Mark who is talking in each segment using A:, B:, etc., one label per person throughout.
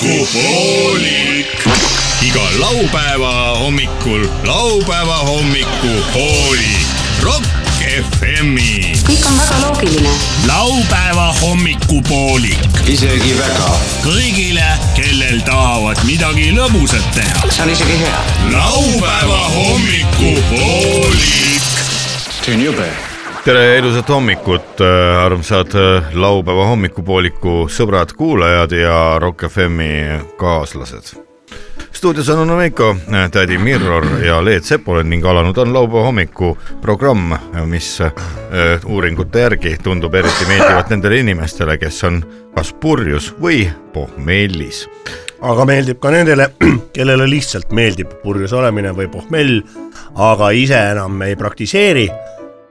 A: hommikupoolik . iga laupäeva hommikul laupäeva hommikupoolik . Rock FM-i .
B: kõik on väga loogiline .
A: laupäeva hommikupoolik
C: isegi väga .
A: kõigile , kellel tahavad midagi lõbusat teha .
C: see on isegi hea .
A: laupäeva hommikupoolik .
C: see on jube .
D: tere ilusat hommikut , armsad äh, laupäeva hommikupooliku sõbrad-kuulajad ja Rock FM-i kaaslased . stuudios on Uno Veiko , tädi Mirror ja Leet Sepolen ning alanud on laupäeva hommikuprogramm , mis äh, uuringute järgi tundub eriti meeldivat nendele inimestele , kes on kas purjus või pohmellis .
E: aga meeldib ka nendele , kellele lihtsalt meeldib purjus olemine või pohmell , aga ise enam ei praktiseeri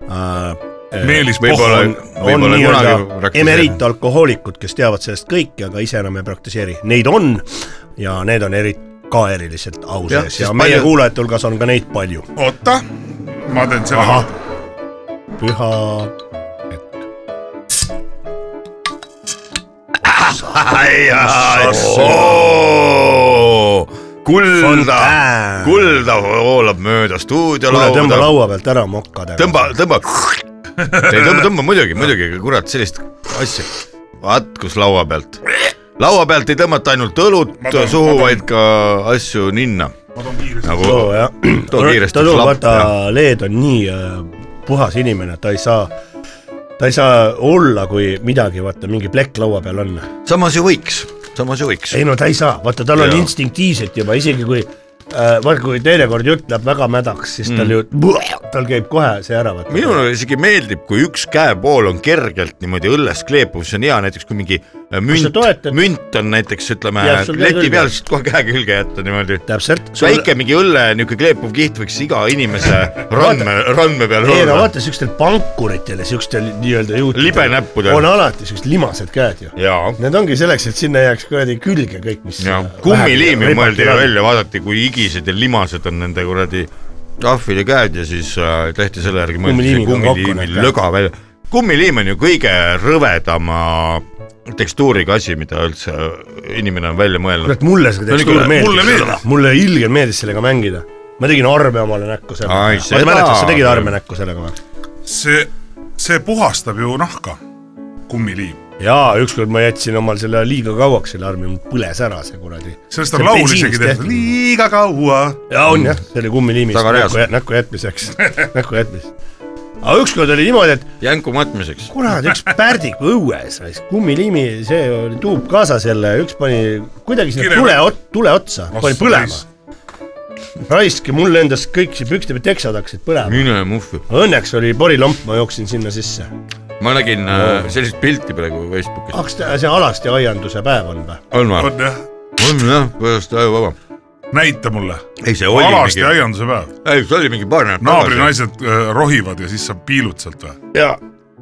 E: äh, .
A: Meelis
D: Võib-olla-
E: on, on
D: võib-olla kunagi
E: nii-öelda
D: praktiseerin.
E: emeriitalkohoolikud , kes teavad sellest kõike , aga ise enam ei praktiseeri , neid on ja need on eri , ka eriliselt au
D: Jah,
E: sees
D: sest
E: ja, ja meie
D: palju-
E: palju... kuulajate hulgas on ka neid palju .
F: oota , ma teen selle
E: ahah , püha ,
D: kulda
E: Fontäär. ,
D: kulda voolab mööda
E: kuule tõmba
D: stuudiolauda
E: laua pealt ära mokad .
D: tõmba , tõmba . ei tõmba , tõmba muidugi , muidugi , aga kurat sellist asja , vaat kus laua pealt . laua pealt ei tõmmata ainult õlut
F: Ma toon-
D: suhu
F: ma , toon-
D: vaid ka asju ninna .
F: ma toon kiiresti .
D: nagu
E: too jah .
D: too kiiresti
E: ta toob ,
D: klapp,
E: vaata
D: jah. ,
E: Leed on nii äh, puhas inimene , ta ei saa , ta ei saa olla , kui midagi , vaata , mingi plekk laua peal on .
D: samas ju võiks , samas ju võiks .
E: ei no ta ei saa , vaata , tal on
D: Jaa.
E: instinktiivselt juba , isegi kui äh, vaata , kui teinekord jutt läheb väga mädaks , siis tal mm. ju , tal käib kohe see ära , vaata .
D: minule isegi meeldib , kui üks käepool on kergelt niimoodi õllest kleepuv , see on hea näiteks kui mingi äh, münt
E: toetad- ,
D: münt on näiteks ütleme
E: Jääb sul käe
D: leti
E: külge.
D: peal , siis kohe käe külge jätta niimoodi .
E: täpselt .
D: väike mingi õlle niisugune kleepuv kiht võiks iga inimese randme , randme peal
E: ei no
D: olla .
E: vaata , siukestel pankuritel ja siukestel nii-öelda juutidel
D: libenäppudel.
E: on alati siuksed limased käed ju .
D: jaa
E: Need ongi selleks , et sinna jääks kuradi külge kõik , mis .
D: jah , kummiliimi mõeldi ju . välja , vaadati , kui igised ja limased on nende kuradi trahvide käed ja siis äh, tehti selle järgi mõeldi see
E: Kummiliimiga on kokku
D: kummiliimi
E: need käed.
D: löga välja . kummiliim on ju kõige rõvedama tekstuuriga asi , mida üldse inimene on välja mõelnud .
E: kurat , mulle see tekstuur
D: kurat, mulle
E: meeldis
D: meeldis. ,
E: mulle ilgelt meeldis sellega mängida . ma tegin arme omale näkku
D: Ai,
E: sellega . ma
D: seda-
E: ei mäleta , kas sa tegid arme näkku sellega või ?
F: see , see puhastab ju nahka , kummiliim .
E: jaa , ükskord ma jätsin omal selle liiga kauaks selle armi , mul põles ära see kuradi .
F: sellest on laul isegi tehtud , liiga kaua .
E: jaa , on jah , see oli kummiliimis
D: Taga reas.
E: näkku , näkku jätmiseks , näkku jätmiseks . aga ükskord oli niimoodi , et
D: jänku matmiseks .
E: kurat , üks pärdik õues raisk , kummiliimi , see oli tuub kaasas jälle , üks pani kuidagi sinna
F: Kire-
E: tule , tule otsa , pani
F: Ossa
E: põlema
F: raisk. .
E: raisk ja mul lendas kõik see pükste peal , teksad hakkasid põlema .
D: mine muhvi ,
E: Õnneks oli porilomp , ma jooksin sinna sisse .
D: ma nägin äh, sellist pilti praegu Facebookis .
E: kas ta- see alasti aianduse päev on või ?
D: on või ?
F: on jah ,
D: on jah , pärast aju vaba .
F: näita mulle .
D: ei , see oli
F: alasti
D: mingi ,
F: aianduse päev ,
D: ei see oli mingi paar nädalat tagasi .
F: naabrinaised äh, rohivad ja siis sa piilud sealt või ?
E: jaa .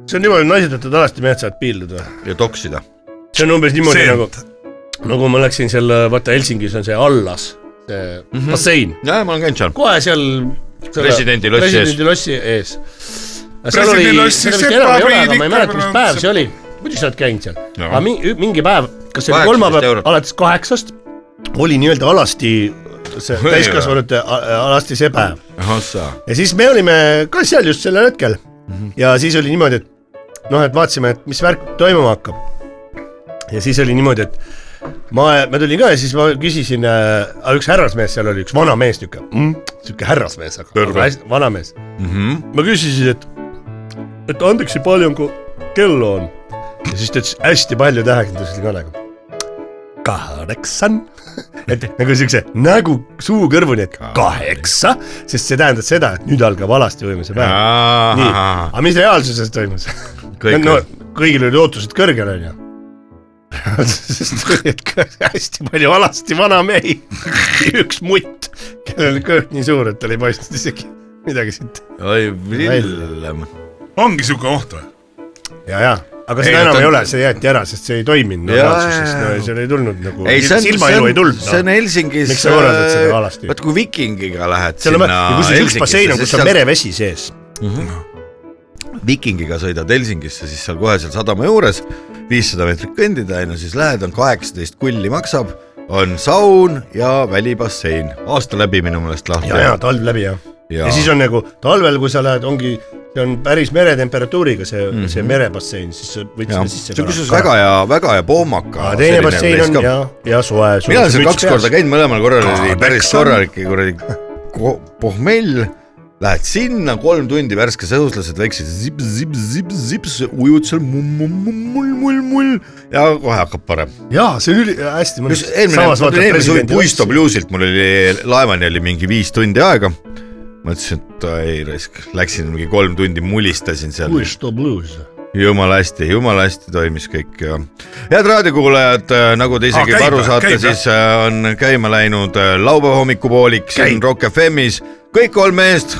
E: see on niimoodi , naised võtavad alasti , mehed saavad piilduda .
D: ja toksida .
E: see on umbes niimoodi
F: Seent.
E: nagu , nagu ma läksin selle , vaata Helsingis on see allas , see mm
F: Mhm.
E: -hmm. bassein ,
D: jah , ma olen käinud seal .
E: kohe seal selle-
D: Presidendi lossi ees.
E: presidendi lossi ees .
F: Presidendi lossi sepabriid
E: ma ei mäleta , mis
F: ikka
E: päev
F: veel
E: see oli , muidugi sa oled käinud seal ,
D: Jaa.
E: aga mingi, mingi päev , kas see oli
D: 18
E: kolmapäev
D: eurot.
E: alates kaheksast , oli nii-öelda alasti see
D: Oi,
E: täiskasvanute a- alasti see päev
D: ahah , sa .
E: ja siis me olime ka seal just sellel hetkel mm -hmm. ja siis oli niimoodi , et noh , et vaatasime , et mis värk toimuma hakkab . ja siis oli niimoodi , et ma , ma tulin ka ja siis ma küsisin äh, , üks härrasmees seal oli , üks vana mees niuke mm, , siuke härrasmees , aga
D: Terve.
E: aga hästi- vana mees .
D: mhmh ,
E: ma küsisin , et , et andeks nii palju , kui kello on . ja siis ta ütles hästi palju tähekindlusi kalega . kaheksan , et nagu siukse nägu suu kõrvuni , et kaheksa , sest see tähendab seda , et nüüd algab alasti võimuse päev . nii ,
D: ahah ,
E: aga mis reaalsuses toimus ?
D: kõik
E: no
D: on
E: kõigil olid ootused kõrgel , onju sest tulid ka hästi palju alasti vanamehi ja üks mutt , kellel oli kõht nii suur , et tal ei paistnud isegi midagi siit
D: oi , villem .
F: ongi siuke oht või ?
E: ja , ja , aga
D: Ei,
E: seda enam
D: ta-
E: ei ole , see jäeti ära , sest see ei toiminud no,
D: Jaa,
E: reaalsuses
D: jaa,
E: no,
D: jaa. ,
E: seal ei tulnud nagu ,
D: ei , see on ,
E: silmaelu ei tulnud
D: see on
E: no. .
D: Helsingis .
E: Miks sa korraldad seda alasti?
D: vot kui vikingiga lähed
E: seal on ,
D: sinna .
E: kusjuures üks bassein on , kus on . merevesi sees .
D: vikingiga sõidad Helsingisse , siis seal kohe seal sadama juures , viissada meetrit kõndida onju , siis lähed , on kaheksateist kulli maksab , on saun ja välibassein . aasta läbi minu meelest lahti .
E: ja , ja talv läbi jah ja. . ja siis
D: on .
E: on nagu talvel , kui sa lähed , ongi , see on päris meretemperatuuriga see mm , -hmm. see merebassein , siis sa võid sinna sisse .
D: Mhm. see on kusjuures väga hea , väga hea poomaka .
E: teine bassein on ja , ja soe .
D: mina olen seal kaks korda . käinud , mõlemal korral oli
E: Kaadeks
D: päris
E: on.
D: korralik kuradi ko- pohmell . Lähed sinna , kolm tundi värskes õhus , lased väikse zips-zips-zips-zips , ujud seal mull-mull-mull-mull ja kohe hakkab parem .
E: jaa , see on üli , hästi .
D: just eelmine , eelmine suvi Puisto . Bluesilt mul oli laevani oli mingi viis tundi aega . mõtlesin , et ei raisk , läksin mingi kolm tundi mulistasin seal .
E: Puisto blues .
D: jumala hästi , jumala hästi toimis kõik ja head raadiokuulajad , nagu te isegi
F: Aa,
D: juba
F: käib
D: aru
F: või?
D: saate ,
F: Käib või?
D: siis äh, on käima läinud äh, laupäeva hommikupoolik siin Rock FM-is . kõik kolm meest ,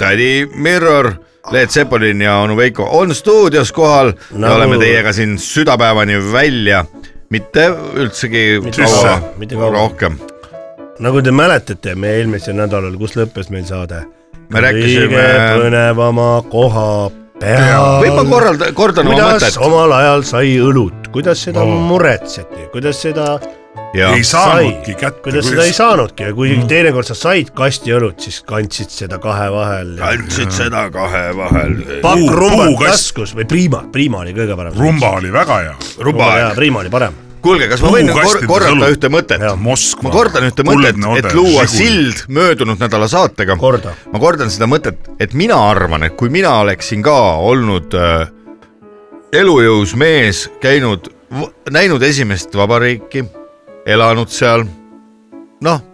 D: tädi Mirror , Leet Sepolin ja onu Veiko on stuudios kohal ja
E: Nagu-
D: oleme teiega siin südapäevani välja , mitte üldsegi
E: Mitte
D: kaua
E: kaua, mitte kaua. ,
D: rohkem .
E: nagu te mäletate , me eelmisel nädalal , kus lõppes meil saade ?
D: Me rääkisime-
E: kõige põnevama koha
D: võib ma
E: peal .
D: korral- , kordan oma
E: kuidas
D: mõtet
E: omal ajal sai õlut , kuidas seda muretseti , kuidas seda
D: ja
F: ei saanudki kätte .
E: kuidas seda ei saanudki ja kui mm. teinekord sa said kasti õlut , siis kandsid seda kahe vahel ja
D: andsid seda kahe vahel .
E: pakk
F: Puu-
E: rumbat
F: puukast.
E: taskus või priima , priima oli kõige parem .
F: rumba oli väga hea .
D: ruba
E: jaa , priima oli parem .
D: kuulge , kas ma võin kor
F: Puukastides
D: korrata
F: õlut.
D: ühte mõtet ?
E: Jaa.
F: Moskva .
D: ma kordan ühte mõtet , et luua . sild möödunud nädala saatega .
E: Korda.
D: ma kordan seda mõtet , et mina arvan , et kui mina oleksin ka olnud äh, elujõus mees , käinud , näinud esimest vabariiki , elanud seal , noh ,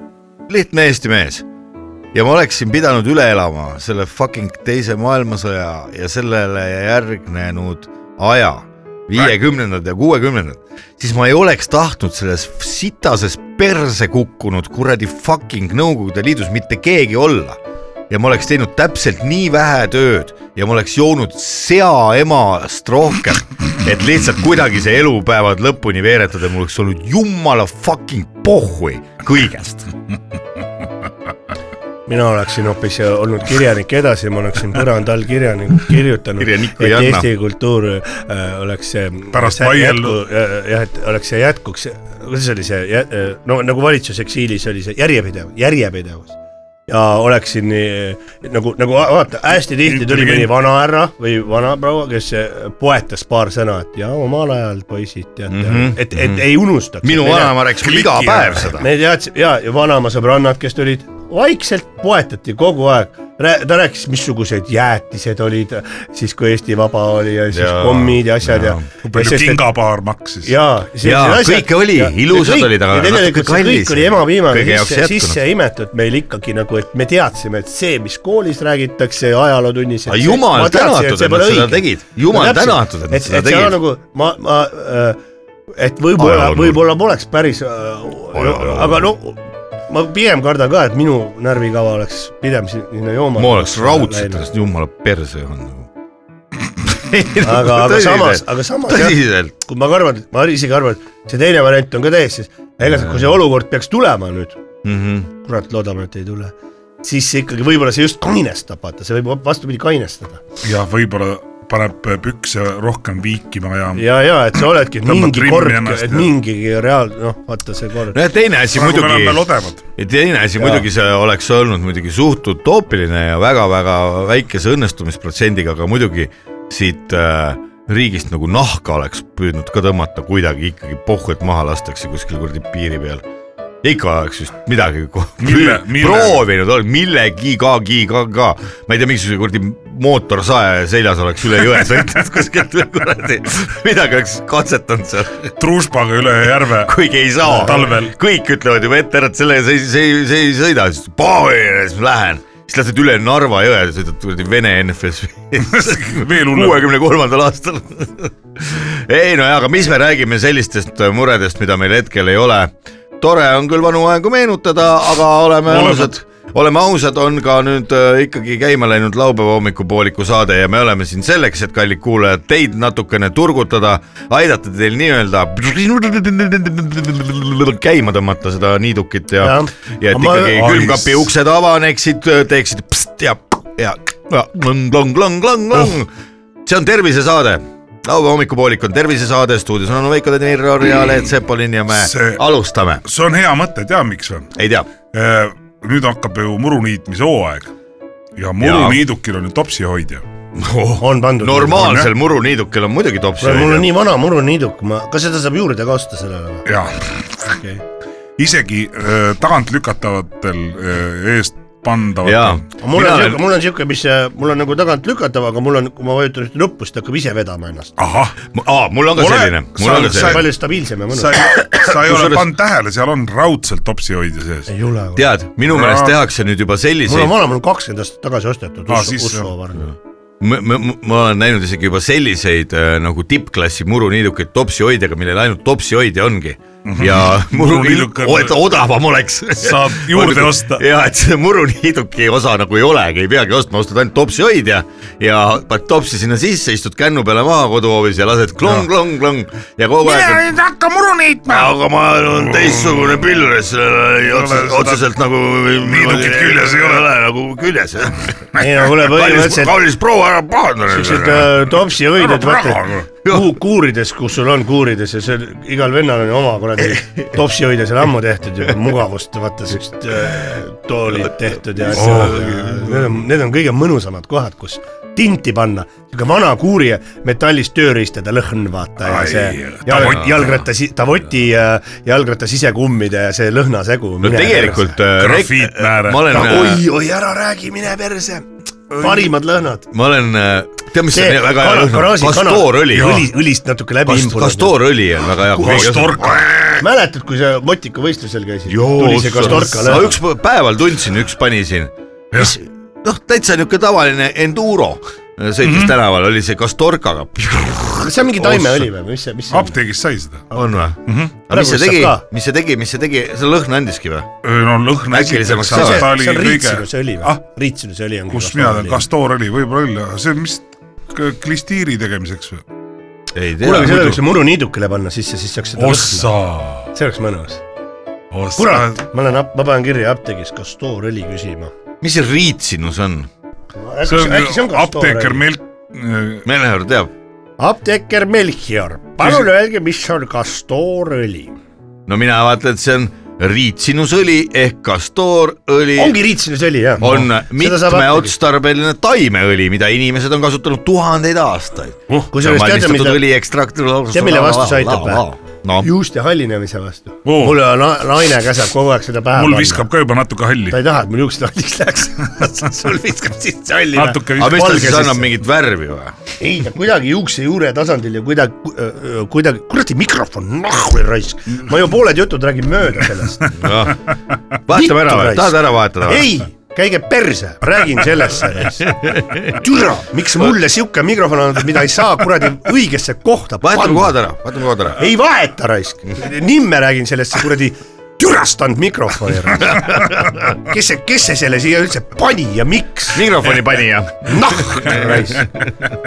D: lihtne Eesti mees ja ma oleksin pidanud üle elama selle fucking teise maailmasõja ja sellele järgnenud aja , viiekümnendad ja kuuekümnendad , siis ma ei oleks tahtnud selles sitases perse kukkunud kuradi fucking Nõukogude Liidus mitte keegi olla . ja ma oleks teinud täpselt nii vähe tööd ja ma oleks joonud sea emast rohkem , et lihtsalt kuidagi see elupäevad lõpuni veeretada , mul oleks olnud jumala fucking pohhui kõigest .
E: mina oleksin hoopis olnud kirjanik edasi , ma oleksin põranda all kirjaniku kirjutanud ,
D: Kirjanikku ei
E: et
D: anna.
E: Eesti kultuur äh, oleks see
F: Pärast
E: see
F: vaieldu-
E: jätku- äh, jah , et oleks see jätkuks , kuidas oli see , no nagu valitsuseksiilis oli see järjepidev , järjepidevus . ja oleksin äh, nagu , nagu va- vaata , hästi tihti tuli mõni
F: Intelligent.
E: vanahärra või vanaproua , kes äh, poetas paar sõna , et ja omal ajal poisid teate mm , -hmm. et , et ei unustaks .
D: Mhm, minu vanaema rääkis mulle iga
F: kliki
D: päev
F: ära.
D: seda .
E: me teadsime ja , ja vanaema sõbrannad , kes tulid , vaikselt poetati kogu aeg . ta rääkis , missugused jäätised olid siis , kui Eesti vaba oli ja siis
D: Jaa,
E: ja, kommid ja asjad ja, ja .
F: kui palju kingapaar maksis .
E: ja ,
D: Jaa, kõike oli, ilusad olid, aga natuke
E: tegelikult see
D: kallis.
E: kõik oli emapiimaga
D: Kõige jaoks
E: sisse ,
D: jätkunud.
E: sisse imetud meil ikkagi nagu , et me teadsime , et see , mis koolis räägitakse ajalootunnis .
D: Aga jumal tänatud, et nad seda tegid. Jumal tänatud, et nad seda
E: et seal
D: tegid.
E: nagu ma , ma äh, et võib-olla ,
D: Ajaloonurk.
E: võib-olla poleks päris äh, ,
D: Ajaloo-
E: aga no ma pigem kardan ka , et minu närvikava oleks pigem sinna jooma .
D: ma oleks raudselt ennast jumala perse joonud nagu .
E: aga , aga samas , aga samas jah
D: tõsiselt ,
E: kui ma arvan , ma isegi arvan , et see teine variant on ka täiesti , ega see- kui see olukord peaks tulema nüüd mm
D: Mhm. ,
E: kurat , loodame , et ei tule , siis see ikkagi võib-olla see just kainestab , vaata , see võib vastupidi kainestada .
F: ja võib-olla paneb pükse rohkem viikima ja, ja.
E: ja , ja et sa oledki et
F: Tõmbad
E: mingi
F: trimmi
E: kord ,
F: ennast
E: et
F: ja-
E: mingigi reaal- , noh , vaata see kord .
D: nojah , teine asi
F: praegu me oleme
D: muidugi ,
F: lodevad .
D: teine asi muidugi see oleks olnud muidugi suht utoopiline ja väga-väga väikese õnnestumisprotsendiga , aga muidugi siit äh, riigist nagu nahka oleks püüdnud ka tõmmata kuidagi ikkagi pohhu , et maha lastakse kuskil kuradi piiri peal . ikka oleks vist midagi ko-
F: Mille- mille-
D: proovinud , millegagi , ka , ka , ma ei tea , mingisuguse kuradi mootorsae seljas oleks üle jõe sõitnud kuskilt või kuradi , midagi oleks katsetanud seal
F: truuspaga üle järve .
D: kuigi ei saa .
F: Talvel.
D: kõik ütlevad juba ette ära , et sellega sa ei , sa ei , sa ei sõida , siis pae ja siis ma lähen . siis lased üle Narva jõe ja sõidad kuradi Vene NFS
F: veel hullem .
D: kuuekümne kolmandal aastal . ei no jaa , aga mis me räägime sellistest muredest , mida meil hetkel ei ole . tore on küll vanu aegu meenutada , aga oleme
F: Oleme.
D: ausad , oleme ausad , on ka nüüd äh, ikkagi käima läinud laupäeva hommikupooliku saade ja me oleme siin selleks , et kallid kuulajad , teid natukene turgutada , aidata teil nii-öelda käima tõmmata seda niidukit ja,
E: Jah.
D: ja , ja et
E: Aga ma-
D: ikkagi
E: ai,
D: külmkapi uksed avaneksid , teeksid pst ja , ja klõng-klõng-klõng-klõng-klõng oh. . see on tervisesaade laupäeva hommikupoolik on tervisesaade , stuudios on Anu Veiko , Tõnis Mirror ja Leet Sepolin ja me
F: See-
D: alustame .
F: see on hea mõte , tead miks või ?
D: ei tea ,
F: nüüd hakkab ju muruniitmise hooaeg ja muruniidukil on ju topsihoidja .
E: on pandud .
D: normaalsel muruniidukil on muidugi tops .
E: mul on nii vana muruniiduk , ma , kas seda saab juurde ka osta sellele või ?
F: jah okay. . isegi eh, öö, tagantlükatavatel öö, eh, eest
D: jaa
F: pandavatel ..
E: mul on siuke , mul on siuke , mis , mul on nagu tagant lükatav , aga mul on , kui ma vajutan ühte nuppu , siis ta hakkab ise vedama ennast .
F: ahah ,
D: aa , mul on ka
F: Ole-
D: selline , mul
F: sa-
D: on ka
F: sa-
D: selline .
E: palju stabiilsem ja
F: sa
E: mõnusam .
F: ei , sa ei ole
D: Kusjuures-
F: pannud tähele , seal on raudselt topsihoidja sees .
E: ei ole .
D: tead , minu meelest
F: Jaa.
D: tehakse nüüd juba
E: mul
D: selliseid
E: on , vana , mul on kakskümmend aastat tagasi ostetud
F: Aa,
E: Usso-
F: siis-
E: Usso varn .
D: ma olen näinud isegi juba selliseid äh, nagu tippklassi muruniidukeid topsihoidjaga , millel ainult topsihoidja ongi . ja muruniiduk ,
F: Muruniiduk on-
D: et odavam oleks .
F: Mhm. Saab juurde osta.
D: ja et see muruniiduki osa nagu ei olegi , ei peagi ostma , ostad ainult topsihoidja ja paned topsi sinna sisse , istud kännu peale maha koduhoovis ja lased klong-klong-klong ja kogu aeg on
F: nüüd hakka muru niitma .
D: aga ma olen teistsugune pilves , otseselt,
F: seda-
D: otseselt nagu .
F: Niidukit küljes ei ole.
D: nagu küljes jah .
E: ei no kuule ,
D: kallis ,
E: põhimõtteliselt
D: kallis proua , ära pahanda
E: siuksed
D: nüüd .
E: äh, topsihoidjad , vaata
F: Ära
D: praegu.
E: kuu- kuurides , kus sul on kuurides ja seal igal vennal on ju oma kuradi topsihoidja seal ammu tehtud juba mugavust , vaata siuksed äh, toolid tehtud ja asjad ja need on , need on kõige mõnusamad kohad , kus tinti panna , siuke vana kuuri metallist tööriistade lõhn , vaata ja
F: Ai,
E: see
F: tavoti-
E: jalg- jalgratta , tavoti ja jalgratta sisekummide ja see lõhnasegu .
D: no tegelikult .
F: grafiitmääre.
D: ma olen ,
E: Nagu
D: äh,
E: oi , oi ära räägi , mine perse , parimad lõhnad
D: ma olen , tead , mis
E: see
D: on väga hea
E: kana-
D: lõhn ,
E: garaaži kana
D: kastoorõli .
E: õli , õlist natuke läbi imbunud .
D: kastoorõli on väga hea .
F: Kastorka ,
E: mäletad , kui sa Motiku võistlusel käisid ? tuli see kastorka
D: ma
E: lõhn .
D: üks päeval tundsin , üks pani siin ,
F: jah ,
D: noh , täitsa niisugune tavaline enduro äh, sõitis
E: Mhm.
D: tänaval , oli see kastorkaga .
E: kas see on mingi taimeõli või mis see , mis see on ?
F: apteegist sai seda .
D: on või ? aga mis
E: Mhm. Praegu
D: see
E: saab
D: tegi
E: ka. ,
D: mis see tegi , mis see tegi , see lõhn andiski või ?
F: Eh, no lõhna
D: Äkki oli see
F: esiteks ,
D: maksaal?
F: aga
E: see
F: ta
E: on-
F: oli
E: see on
F: kõige ,
E: riitsinuse õli või
F: Ah. ?
E: riitsinuse õli on .
F: kus mina tean ,? Castor oli , võib-olla oli , aga see on vist k- klistiiri tegemiseks või ?
D: ei
E: kuule , aga selle
D: tea
E: võiks , ju muruniidukile panna sisse , siis saaks seda lõhna . see oleks mõnus . kurat , ma lähen , ma panen kirja apteegis kastoorõli küsima .
D: mis see riitsinus on ?
F: see on apteeker . äh, Melk ,
D: Meelehärm teab ,
E: apteeker Melchior , palun öelge , mis on kastoorõli ?
D: no mina vaatan , et see on riitsinusõli ehk kastoorõli
E: ongi riitsinuse õli , jah ? Noh,
D: on mitmeotstarbeline taimeõli , mida inimesed on kasutanud tuhandeid aastaid .
E: Uh, kusjuures teate , mida
D: õli ekstrakt .
E: tead, mille vastu see aitab või? ?
D: noh ,
E: juuste hallinemise vastu
F: Oo.
E: oh. . mul on na- naine käsab kogu aeg seda pähe .
F: mul viskab . ka juba natuke halli
E: ta , ei taha , et mul juuksed halliks läheks . sul viskab sisse halli .
F: natuke
D: noh. aga
F: viskab .
D: mis ta
E: valge
D: siis
E: sisse.
D: annab mingit värvi või ?
E: ei , ta kuidagi juukse juure tasandil ja kuidagi , kuidagi , kuradi mikrofon , nahku raisk . ma ju pooled jutud räägin mööda sellest .
D: vahetame ära või ,
E: raisk.
D: tahad ära vahetada või ?
E: ei , käige perse , räägin sellesse . türa , miks mulle sihuke mikrofon on , mida ei saa kuradi õigesse kohta
D: vahetame . kohad ära , vahetame kohad ära .
E: ei vaheta raisk , nimme räägin sellesse kuradi türastanud mikrofoni . kes see , kes see selle siia üldse pani ja miks ?
D: mikrofoni panija .
E: nahk raisk .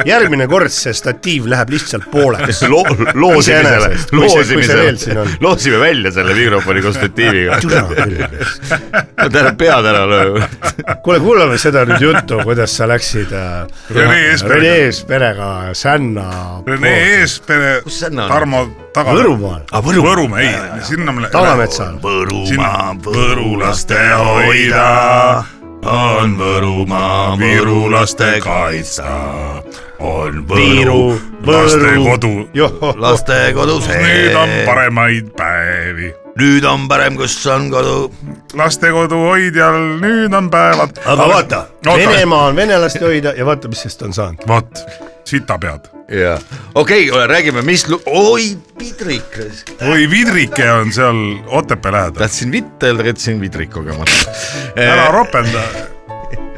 E: järgmine kord see statiiv läheb lihtsalt pooleks .
D: loosimisele
E: Iseenesest, , kui see- kui see veel
D: loosimisele
E: siin on. ,
D: loosime välja selle mikrofoni koos statiiviga .
E: türa küll , raisk .
D: tähendab pead ära lööma .
E: kuule , kuulame seda nüüd juttu , kuidas sa läksid äh,
F: Rene Eesperega.
E: Rene Eesperega Sänna .
F: Rene Eespere ,
D: Kus see on?
F: Tarmo Taga .
E: Võrumaal.
F: ah, . Võrumaa , Võrumaa , ei , sinna me
E: Talametsal .
D: Võrumaa
F: Sinna. ,
D: võrulaste hoida on Võrumaa , võrulaste kaitsta on Võru
E: Viiru. .
F: lastekodu .
E: johoh ,
D: laste kodu
F: nüüd on
D: see ,
F: paremaid päevi .
D: nüüd on parem , kus on kodu .
F: lastekodu hoidjal , nüüd on päevad .
E: aga vaata , Venemaa on venelaste hoida ja vaata , mis sest on saanud .
F: vot , sita pead .
D: jaa , okei okay, , räägime , mis , oi , Pidrik ,
F: oi , Vidrike on seal Otepää lähedal .
D: tahtsin vitt öelda , jätsin Pidrik kogemata .
F: ära ropenda . ütled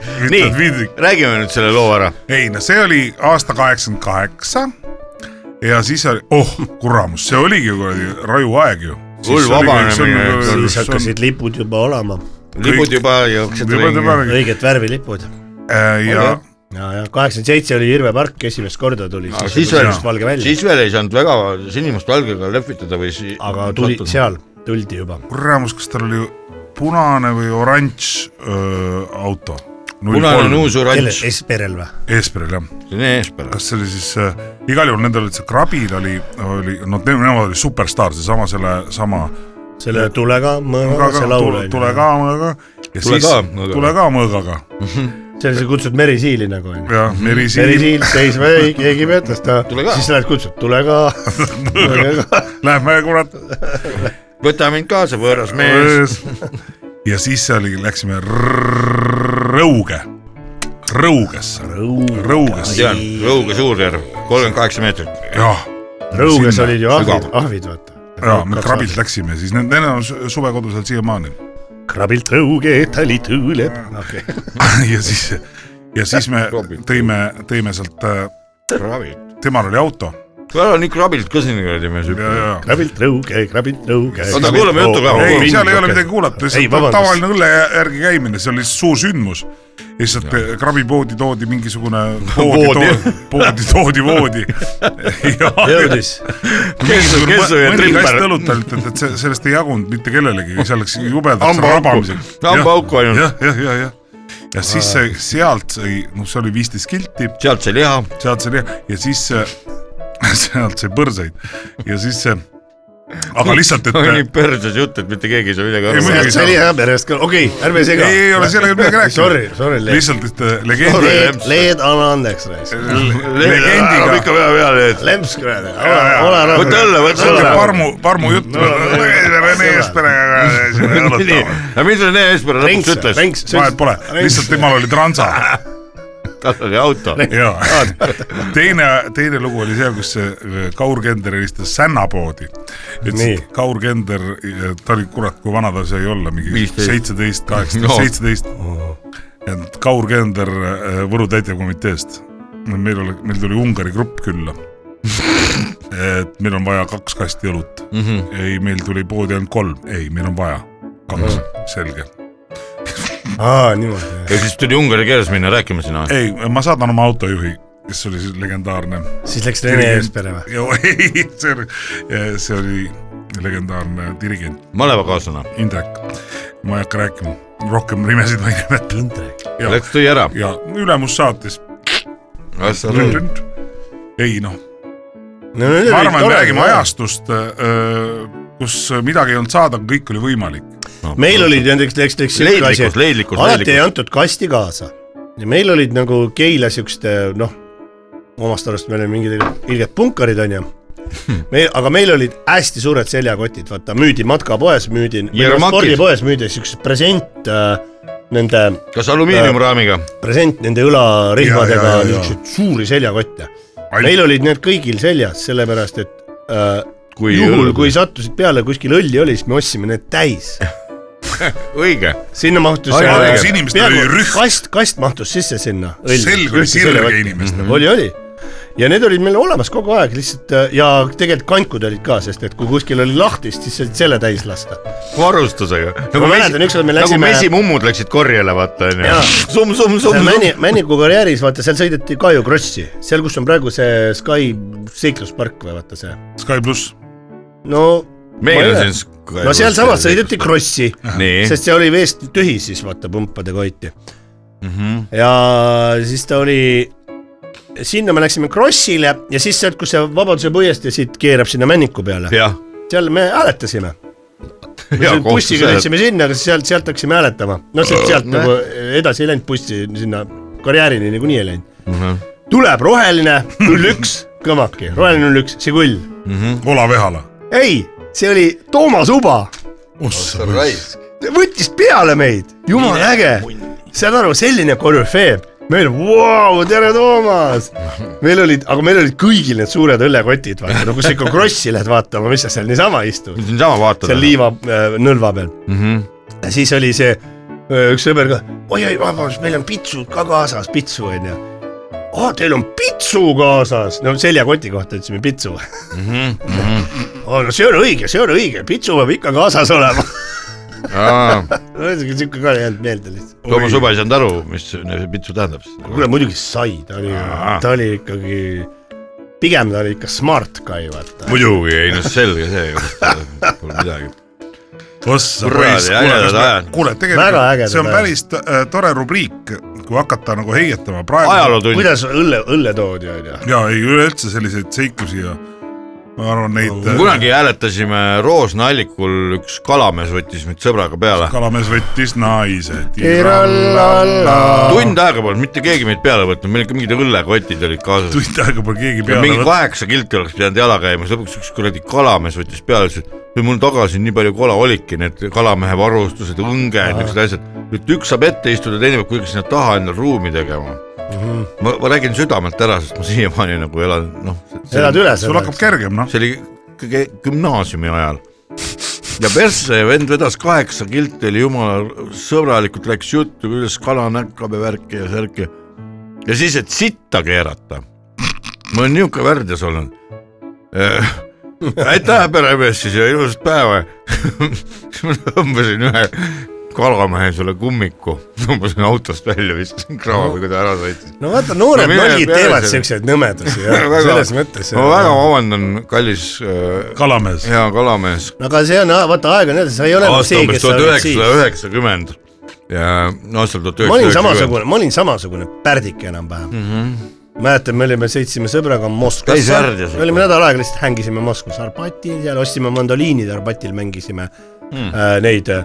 D: Eh. nii
F: Vidrik .,
D: räägime nüüd selle loo ära .
F: ei no see oli aasta kaheksakümmend kaheksa ja siis oli , oh kuramus , see oligi ju kuradi raju aeg ju .
D: Hull vabanemine.
E: siis hakkasid lipud juba olema ,
D: lipud juba jooksid ringi .
F: ja ,
E: õiget värvi lipud .
F: Äh, ja
E: ja , ja kaheksakümmend seitse oli Irve park , esimest korda tuli
D: Aga siis veel ,
E: valge välja ,
D: siis veel ei saanud väga sinimustvalgega lehvitada või si- .
E: aga tuli seal , tuldi juba .
F: kuramus , kas tal oli punane või oranž öö, äh, auto ?
D: punane on uus oranž
E: kellel ,, Esperel või ?
F: Esperil jah ,
E: eh-
D: Rene Eespära .
F: kas see oli siis äh, , igal juhul nendel olid see Krabil oli , oli , no te- nemad olid superstaar , seesama selle sama
E: selle Tulega mõõgaga see laul
F: tule,
E: on
F: tule
E: ju .
F: ka mõõga ja
D: Tule
F: siis
D: ka mõõgaga.
F: tule ka mõõgaga
E: see on , sa kutsud merisiili nagu on ju .
F: ja merisiil
E: merisiil seisma ei , keegi ei petesta .
D: Tule ka.
E: siis lähed kutsud , tule ka .
F: lähme kurat
D: võta mind kaasa , võõras mees .
F: ja siis seal läksime Rõuge , Rõugesse , Rõugesse ,
D: tean , Rõuge Suurjärv , kolmkümmend kaheksa meetrit .
F: jah ,
E: Rõuges
F: Sinna.
E: olid ju ahvid
D: Sügav. ,
E: ahvid vaata .
F: ja me Krabilt läksime , siis need , need on su- suvekodusel siiamaani
E: krabilt rõuge , tali tuuleb . okei ,
F: ja siis , ja siis me tõime , tõime sealt ,
D: krabilt .
F: temal oli auto
D: seal on nii krabilt ka siin kuradi mees
F: ja ,
D: hüppab .
F: ja
E: krabilt rõuge , krabilt rõuge .
D: Oota, kuulame juttu ka.
F: ei , seal ei ole midagi kuulata ,
E: ei ,
F: lihtsalt
E: vabandust ,
F: tavaline õlle järgi käimine , see oli suur sündmus . lihtsalt eh, krabipoodi toodi mingisugune
D: Voodi.
F: poodi , poodi toodi voodi .
E: jõudis .
D: Kesu- kesu ja trimper.
F: õlutanud , et see , sellest ei jagunud mitte kellelegi , see läks jubedaks
D: Hamba-
F: rabamiseks .
D: hambaauku ainult.
F: jah , jah , jah , jah . ja siis see sealt sai , noh , see oli viisteist kilti ,
D: sealt see liha ,
F: sealt sai liha ja siis see- sealt sai põrsaid ja siis see , aga lihtsalt , et
D: nii perses jutt , et mitte keegi ei saa midagi
F: Ei,
D: aru .
F: muidugi.
E: see oli hea perest ka , okei , ärme sega .
F: ei , ei ole sellega midagi rääkida .
E: Sorry , sorry , Leed .
F: lihtsalt , et äh,
D: Sorry.
F: legendi ,
D: Leps.
E: Leed , Leed , anna andeks , raisk .
D: ära
F: legendiga ,
D: ikka pea peale , et
E: Lemps kuradi ,
F: Jaa,
E: ole
F: jaa. ,
E: ole rahu .
D: võta õlle , võta
F: selle
D: õlle .
F: parmu , parmu juttu
E: No, no, no,
F: Rene
E: sõbrad.
F: Eesperega siin ei
D: nii
F: olnud ,
D: aga mis Rene Eespära lõpuks
E: Renks ,
D: ütles ?
E: Renks ,
F: vahet pole , lihtsalt temal oli transa
D: tal oli auto .
F: ja teine , teine lugu oli see , kus see Kaur Kender helistas sännapoodi . ütles ,
E: Nii.
F: et Kaur Kender , ta oli kurat , kui vana ta sai olla , mingi
D: 15.
F: seitseteist ,
D: No.
F: kaheksateist , seitseteist . et Kaur Kender äh, Võru täitevkomiteest , meil oli , meil tuli Ungari grupp külla et meil on vaja kaks kasti õlut mm . -hmm. ei , meil tuli poodi ainult kolm , ei , meil on vaja kaks mm , -hmm. selge .
E: aa , niimoodi .
D: ja siis tuli ungari keeles minna rääkima sinna .
F: ei , ma saadan oma autojuhi , kes oli siis legendaarne .
E: siis läks Rene Eespere või ?
F: ei , see oli , see oli legendaarne dirigent
D: malevakaaslane .
F: Indrek . ma ei hakka rääkima , rohkem nimesid ma ei nimeta .
E: Indrek .
F: ja ,
D: Läks tõi ära . Mm.
F: ja ülemus saatis . ei noh
E: no nüüd
F: ma arvan , me räägime . ajastust , kus midagi ei olnud saada , aga kõik oli võimalik .
E: meil olid näiteks , läks , läks siuke asi ,
D: leidlikkus ,
E: et
D: leidlikkus ,
E: alati ei
D: leidlikkus .
E: antud kasti kaasa . ja meil olid nagu Keila siukeste noh , omast arust me olime mingid ilged punkarid onju . me , aga meil olid hästi suured seljakotid , vaata müüdi matkapoes , müüdi ,
D: Jermakid.
E: spordipoes müüdi siukseid present äh, nende ,
D: kas alumiiniumraamiga ?
E: present nende
F: Ja,
E: õlarihmadega
F: ja, ja, ja.
E: niisuguseid suuri seljakotte . meil olid need kõigil seljas , sellepärast et äh,
D: Kui
E: juhul
D: õll- ,
E: kui sattusid peale kuskil õlli oli , siis me ostsime need täis .
D: õige .
E: sinna mahtus .
D: Ai, ai,
F: kas inimestel oli rühm ,
E: kast , kast mahtus sisse sinna .
F: selg oli sirge . inimestel .
E: Mhm. oli , oli . ja need olid meil olemas kogu aeg lihtsalt äh, ja tegelikult kankud olid ka , sest et kui kuskil oli lahtist , siis said selle täis lasta .
D: varustusega .
E: Ma mäletan, ükskord me läksime-
D: nagu mesimummud läksid korjele , vaata onju
E: Jaa. .
D: summ , summ , summ ,
E: Männi
D: summ .,
E: Männiku karjääris vaata , seal sõideti Kaju Krossi , seal , kus on praegu see Sky seikluspark või vaata see .
F: Sky pluss ,
E: no ,
D: meil on
E: Ma ei
D: siin .
E: no sealsamas sõideti . Krossi ,
D: nii ,
E: sest see oli veest tühi siis vaata pumpadega hoiti . ja siis ta oli , sinna me läksime Krossile ja siis sealt , kus see Vabaduse puiestee siit keerab sinna Männiku peale .
D: jah .
E: seal me hääletasime . bussiga sõitsime sinna , aga sealt , sealt hakkasime hääletama . no sealt , sealt
D: Nojah.
E: nagu edasi ei läinud bussi sinna karjäärini niikuinii ei läinud .
D: Mhm.
E: tuleb roheline null üks kõvaki , roheline null üks , Žigul .
F: Ola Vehala .
E: ei , see oli Toomas Uba , võttis peale meid , jumala äge . saad aru , selline korüfee , meil , vau , tere Toomas . meil olid , aga meil olid kõigil need suured õllekotid , vaata , no kus sa ikka krossi lähed vaatama , mis sa seal niisama istud .
D: niisama vaatad .
E: seal liiva äh, nõlva peal mm . -hmm. ja siis oli see öö, üks sõber ka , oi-oi , vabandust , meil on pitsud ka kaasas , pitsu onju . aa , teil on pitsu kaasas , no seljakoti kohta ütlesime pitsu mm . -hmm. aa , no see on õige , see on õige , pitsu peab ikka kaasas olema . siuke ka ei jäänud meelde lihtsalt .
D: Toomas Uba ei saanud aru , mis see pitsu tähendab .
E: kuule , muidugi sai , ta oli
D: Aa. ,
E: ta oli ikkagi , pigem ta oli ikka smart guy , vaata .
D: muidugi , ei no selge see ju , pole midagi .
F: ossa
D: Kuradi ägedad ajad.
F: kuule ,
E: Väga
F: tegelikult
E: ägedad
F: see on
E: ajad.
F: päris t- äh, tore rubriik , kui hakata nagu heietama praegu .
D: ajalootund ,
E: kuidas õlle , õlle toodi onju .
F: ja ei üleüldse selliseid seiklusi ja ma arvan neid . äh,
D: kunagi hääletasime Roosna-Allikul , üks kalamees võttis mind sõbraga peale .
F: kalamees võttis naise .
D: tund aega polnud mitte keegi meid peale võtnud , meil ikka mingid õllekotid olid kaasas .
F: tund aega pole keegi
D: ja mingi
F: peale võtnud .
D: kaheksa kilti oleks pidanud jala käima , siis lõpuks üks kuradi kalamees võttis peale , ütles , et "Ei, mul tagasi nii palju kola oligi , need kalamehe varustused , õnged , niisugused asjad . et üks saab ette istuda , teine peab kuidagi sinna taha endale ruumi tegema . ma , ma räägin südamelt ära , sest ma siiamaani nagu elan , noh .
E: elad üle
F: sul
E: selle
F: hakkab ? kergem noh ,
D: see oli kõige gümnaasiumi ajal . ja persse ja vend vedas kaheksa kilti , oli jumala sõbralikult , rääkis juttu , kuidas kala näkkab ja värki ja särki . ja siis , et sitta keerata . ma olen niisugune värdjas olnud . aitäh , peremees siis ja ilusat päeva . siis ma tõmbasin ühe kalamehe sulle kummiku , tõmbasin autost välja , viskasin kraavi , kui ta ära sõitis .
E: no vaata , noored
D: No mine
E: nollid
D: peale
E: teevad
D: selle.
E: siukseid nõmedusi jah ,
D: Väga-
E: selles mõttes .
D: ma väga vabandan , kallis äh,
F: kalamees .
D: hea kalamees .
E: aga see on , vaata aeg on edasi , sa ei ole enam
D: aasta
E: see ,
D: umbes
E: kes sa
D: tuhat
E: olid siis
D: üheksasada . üheksakümmend ja no aastal tuhat
E: ma olin
D: üheksasada
E: samasugune , ma olin samasugune pärdik enam-vähem mm .
D: Mhm.
E: -hmm. mäletan , me olime , sõitsime sõbraga
D: Täis
E: Moskvasse
D: värdjas ikka. ,
E: me olime nädal aega lihtsalt hängisime Moskvas Arbatil , seal ostsime mandoliinid , Arbatil mängisime mm. äh, neid äh,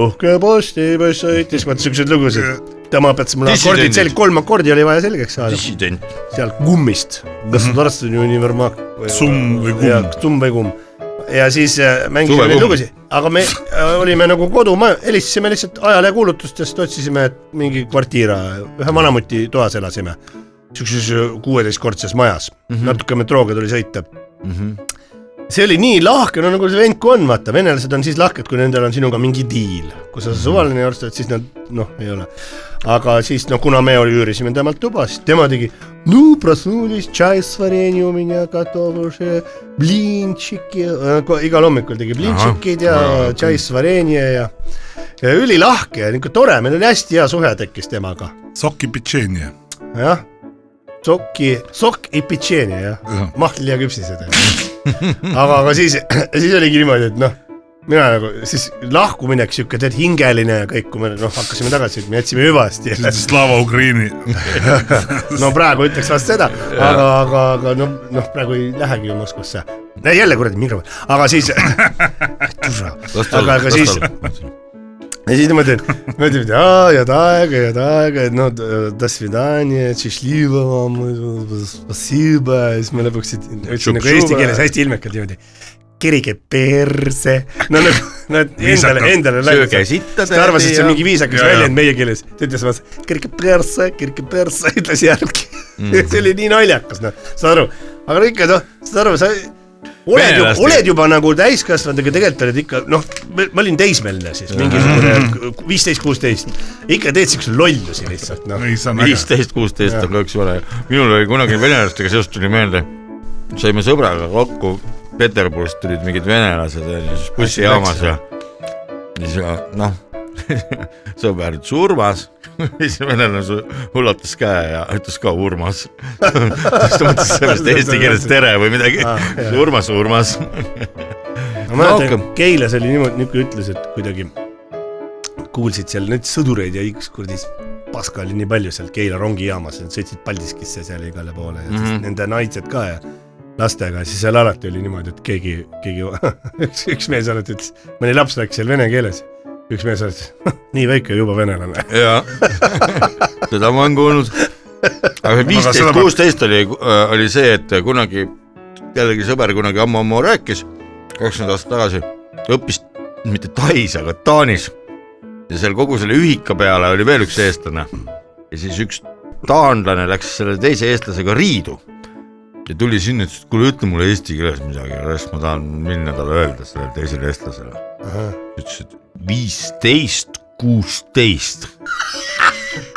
E: uhke postipoiss sõitis , vaat siukseid lugusid . tema õpetas mulle akordid
D: Dissidendid.
E: selg , kolm akordi oli vaja selgeks saada ,
D: dissident .
E: seal kummist , kas
D: Mhm.
E: sa tarvitasid univermaak ?
F: Summ või kumm.
E: jah , summ või kumm . ja siis äh, mängisime neid
D: Suvekumm.
E: lugusid , aga me äh, olime nagu kodumaja , helistasime lihtsalt ajaleekuulutustest , otsisime et mingi kvartiira , ühe vanamuti toas elasime . Siukses kuueteistkordses majas mm , -hmm. natuke metrooga tuli sõita mm . -hmm. see oli nii lahke , no nagu see vendku on , vaata , venelased on siis lahked , kui nendel on sinuga mingi diil , kui sa suvaline arstad , siis nad noh , ei ole aga siis noh , kuna me oli- üürisime temalt tuba , siis tema tegi . ну проснулись чай с вареньем у меня готов уже блинчики , äh, igal hommikul tegi blintšikid ja
D: Ahah.
E: tšai s varenje ja , ja ülilahke ja niuke tore , meil oli hästi hea suhe tekkis temaga ,
F: Soki Pitšenje .
E: jah . Sokki , sokk ja pitšeeni jah , mahli ja küpsised . aga , aga siis , siis oligi niimoodi , et noh , mina nagu siis lahkuminek siuke tead hingeline ja kõik , kui me noh hakkasime tagasi , me jätsime hüvasti jälle .
F: Slava Ukraini .
E: noh, no praegu ütleks vast seda , aga , aga , aga noh , noh , praegu ei lähegi ju Moskvasse . jälle kuradi mikrofon , aga siis , aga , aga siis , ja siis niimoodi , niimoodi , et aa , head aega , head aega , et noh, no do svidanje , tšišliva vam , spasiba , siis me lõpuks ütlesin ütlesin nagu eesti keeles hästi ilmekalt niimoodi . kirige perse , no nagu , no et endale ,
F: Viisakalt.
E: endale .
D: sööge sitta
E: ta arvas , et see on mingi viisakas
F: Ja, ja.
E: väljend meie keeles , ta ütles vaata , kerge perse , kerge perse , ütles järgi mm. . see oli nii naljakas , noh , saad aru , aga no ikka noh , saad aru , sa oled juba ,
D: Venelaste-
E: oled juba nagu täiskasvanud , aga tegelikult oled ikka noh , ma olin teismeline siis mingisugune viisteist , kuusteist , ikka teed siukseid lollusi lihtsalt noh .
F: ei , see on äge .
D: viisteist , kuusteist on ka üks vale . minul oli kunagi venelastega seoses tuli meelde , saime sõbraga kokku , Peterburist tulid mingid venelased onju , siis bussijaamas ja siis ja noh , sõber ütles Urmas , siis venelane su- ulatas käe ja ütles ka Urmas . siis ta mõtles sellest eesti keeles tere või midagi
E: Ah, jah. ,
D: Urmas , Urmas
E: ma mäletan
D: rohkem. ,
E: Keilas oli niimoodi , niisugune ütlus , et kuidagi kuulsid seal neid sõdureid ja ükskord siis paska oli nii palju seal Keila rongijaamas , nad sõitsid Paldiskisse seal igale poole ja mm -hmm.
D: Mhm.
E: nende naised ka ja lastega , siis seal alati oli niimoodi , et keegi , keegi üks , üks mees alati ütles , mõni laps rääkis seal vene keeles , üks mees ütles , nii väike juba venelane .
D: jaa , seda ma olen kuulnud . aga
F: seda
D: viisteist ,
F: ma-
D: kuusteist oli , oli see , et kunagi jällegi sõber kunagi ammu-ammu rääkis , kakskümmend aastat tagasi , õppis mitte Tais , aga Taanis . ja seal kogu selle ühika peale oli veel üks eestlane ja siis üks taanlane läks selle teise eestlasega riidu ja tuli sinna , ütles , et kuule , ütle mulle eesti keeles midagi , ma tahan minna talle öelda sellele teisele eestlasele . ütles , et viisteist , kuusteist .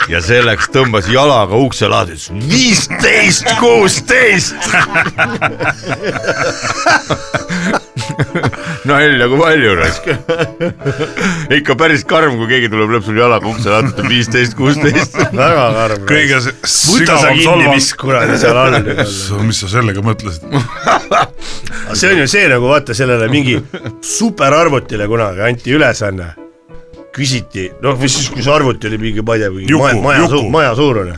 D: ja selleks tõmbas jalaga ukse lahti , ütles viisteist , kuusteist . nalja kui palju raisk . ikka päris karm , kui keegi tuleb lõpus jalaga ukse lahti , ütleb viisteist , kuusteist .
E: väga karm .
F: kõige s-
E: võta sa
F: sügavam
E: kinni , mis
F: solvang .
E: kuradi seal all nüüd on .
F: mis sa sellega mõtlesid ?
E: see on ju see nagu vaata sellele mingi superarvutile kunagi anti ülesanne . küsiti , noh või siis , kui see arvuti oli mingi , ma ei tea , mingi
F: Juku,
E: maja , maja,
F: Juku.
E: suu, maja suurune .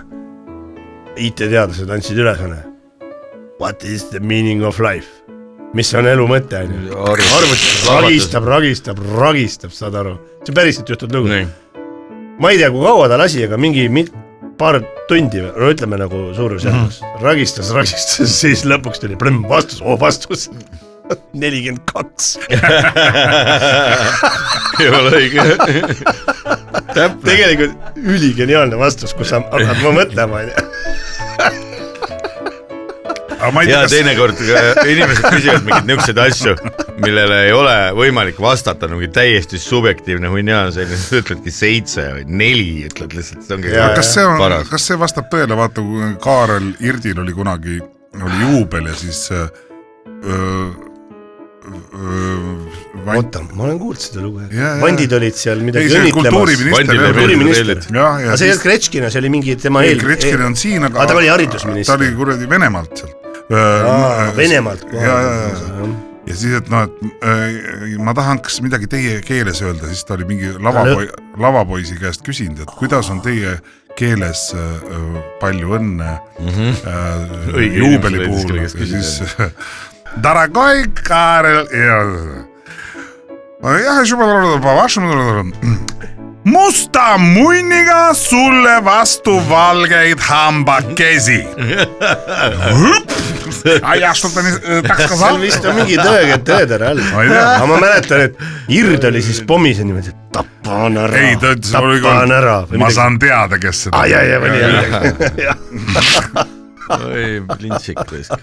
E: IT-teadlased andsid ülesõna . What is the meaning of life ? mis on elu mõte , onju . arvuti ragistab , ragistab , ragistab , saad aru . see on päriselt juhtunud lugu .
D: nii ,
E: ma ei tea , kui kaua ta lasi , aga mingi mit, paar tundi või no ütleme nagu
F: Mhm.
E: suurusjärgus mm -hmm. ragistas , ragistas , siis lõpuks tuli plõmm vastus , oh vastus nelikümmend kaks .
D: ei ole õige . täpne ,
E: tegelikult üligeniaalne vastus , kus sa hakkad ma mõtlema onju .
F: aga ma ei
D: ja
F: tea , kas
D: teinekord ka inimesed küsivad mingeid niisuguseid asju , millele ei ole võimalik vastata , nagu täiesti subjektiivne hunnia on selline , sa ütledki seitse või neli , ütled lihtsalt , see ongi
E: Jaa,
F: kas see on
D: paras ,
F: kas see vastab tõele , vaata kui Kaarel Irdil oli kunagi , oli juubel ja siis äh, öö, öö, äh, vant-
E: oota , ma olen kuulnud seda lugu
F: Jaa, jaa. ,
E: vandid olid seal midagi
F: Ei, see
E: õnnitlemas .
F: kultuuriminister-
D: Vandile
E: kultuuriminister.
D: meeldivad reeglid .
F: jah , ja
E: aga see ei olnud Kretškina , see oli mingi tema
F: ei ,
E: eel- .
F: Kretškin on siin , aga
E: aga ta oli haridusminister.
F: ta oli kuradi Venemaalt sealt .
E: Venemaalt
F: ja , ja , ja , ja siis , et noh , et äh, ma tahaks midagi teie keeles öelda , siis ta oli mingi lavapoi- , lavapoisi käest küsinud , et kuidas on teie keeles äh, äh, palju õnne mm -hmm. äh,
D: Õige inimene
F: juubeli
D: leidis,
F: puhul
D: kelle
F: ja
D: käest küsida,
F: siis Daragoi Karel ja jah , vastu , Mm. musta munniga sulle vastu valgeid hambakesi . ja , kas ta nii tahaks ka
E: seal vist
F: saada ?
E: on mingi tõega tõetera all .
F: Ma ei tea.
E: aga ma mäletan , et Ird oli siis pommis ja niimoodi , et tapan ära
F: ei , ta ütles ,
E: tapan ära .
F: ma . saan teada , kes seda
E: ai , ai , ai , ai , ai .
D: oi , lintsik raisk .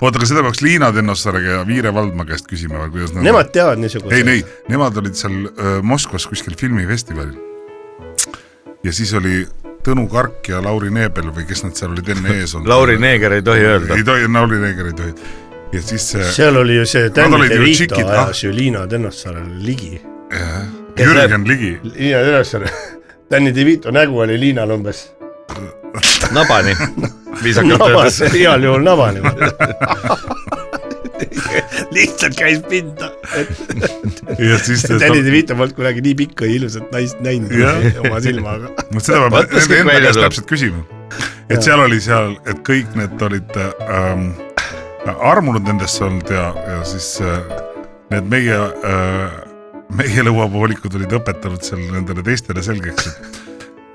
F: oota , aga seda peaks Liina Tennossaarega ja Viire Valdma käest küsima või kuidas nad
E: Nemad teavad niisuguseid .
F: ei , ei , nemad olid seal öö, Moskvas kuskil filmifestivalil . ja siis oli Tõnu Kark ja Lauri Neebel või kes nad seal olid enne ees olnud .
D: Lauri Neeger ei tohi öelda
F: ei . tohi , Lauri Neeger ei tohi . ja siis see
E: seal oli ju see
F: olid
E: Danny
F: ju
E: DeVito
F: tšikid, ah.
E: ajas ju Liina Tennossaarele ligi .
F: Jürgen Ligi ,
E: Liina Tennossaare , Danny DeVito nägu oli Liinal umbes
D: nabani , viisakalt
E: nabas
D: öeldes .,
E: heal juhul nabani . lihtsalt käis pinda , et
F: ja siis
E: Danny DeVito polnud kunagi nii pikka ja ilusat naist näinud
F: Jah.
E: oma silmaga .
F: vot seda peab
D: Vaat, mis kõik
F: nende enda
D: välja
F: käest
D: tuleb.
F: täpselt küsima . et seal oli seal , et kõik need olid ähm, armunud nendesse olnud ja , ja siis äh, need meie äh, , meie lõuapoolikud olid õpetanud seal nendele teistele selgeks , et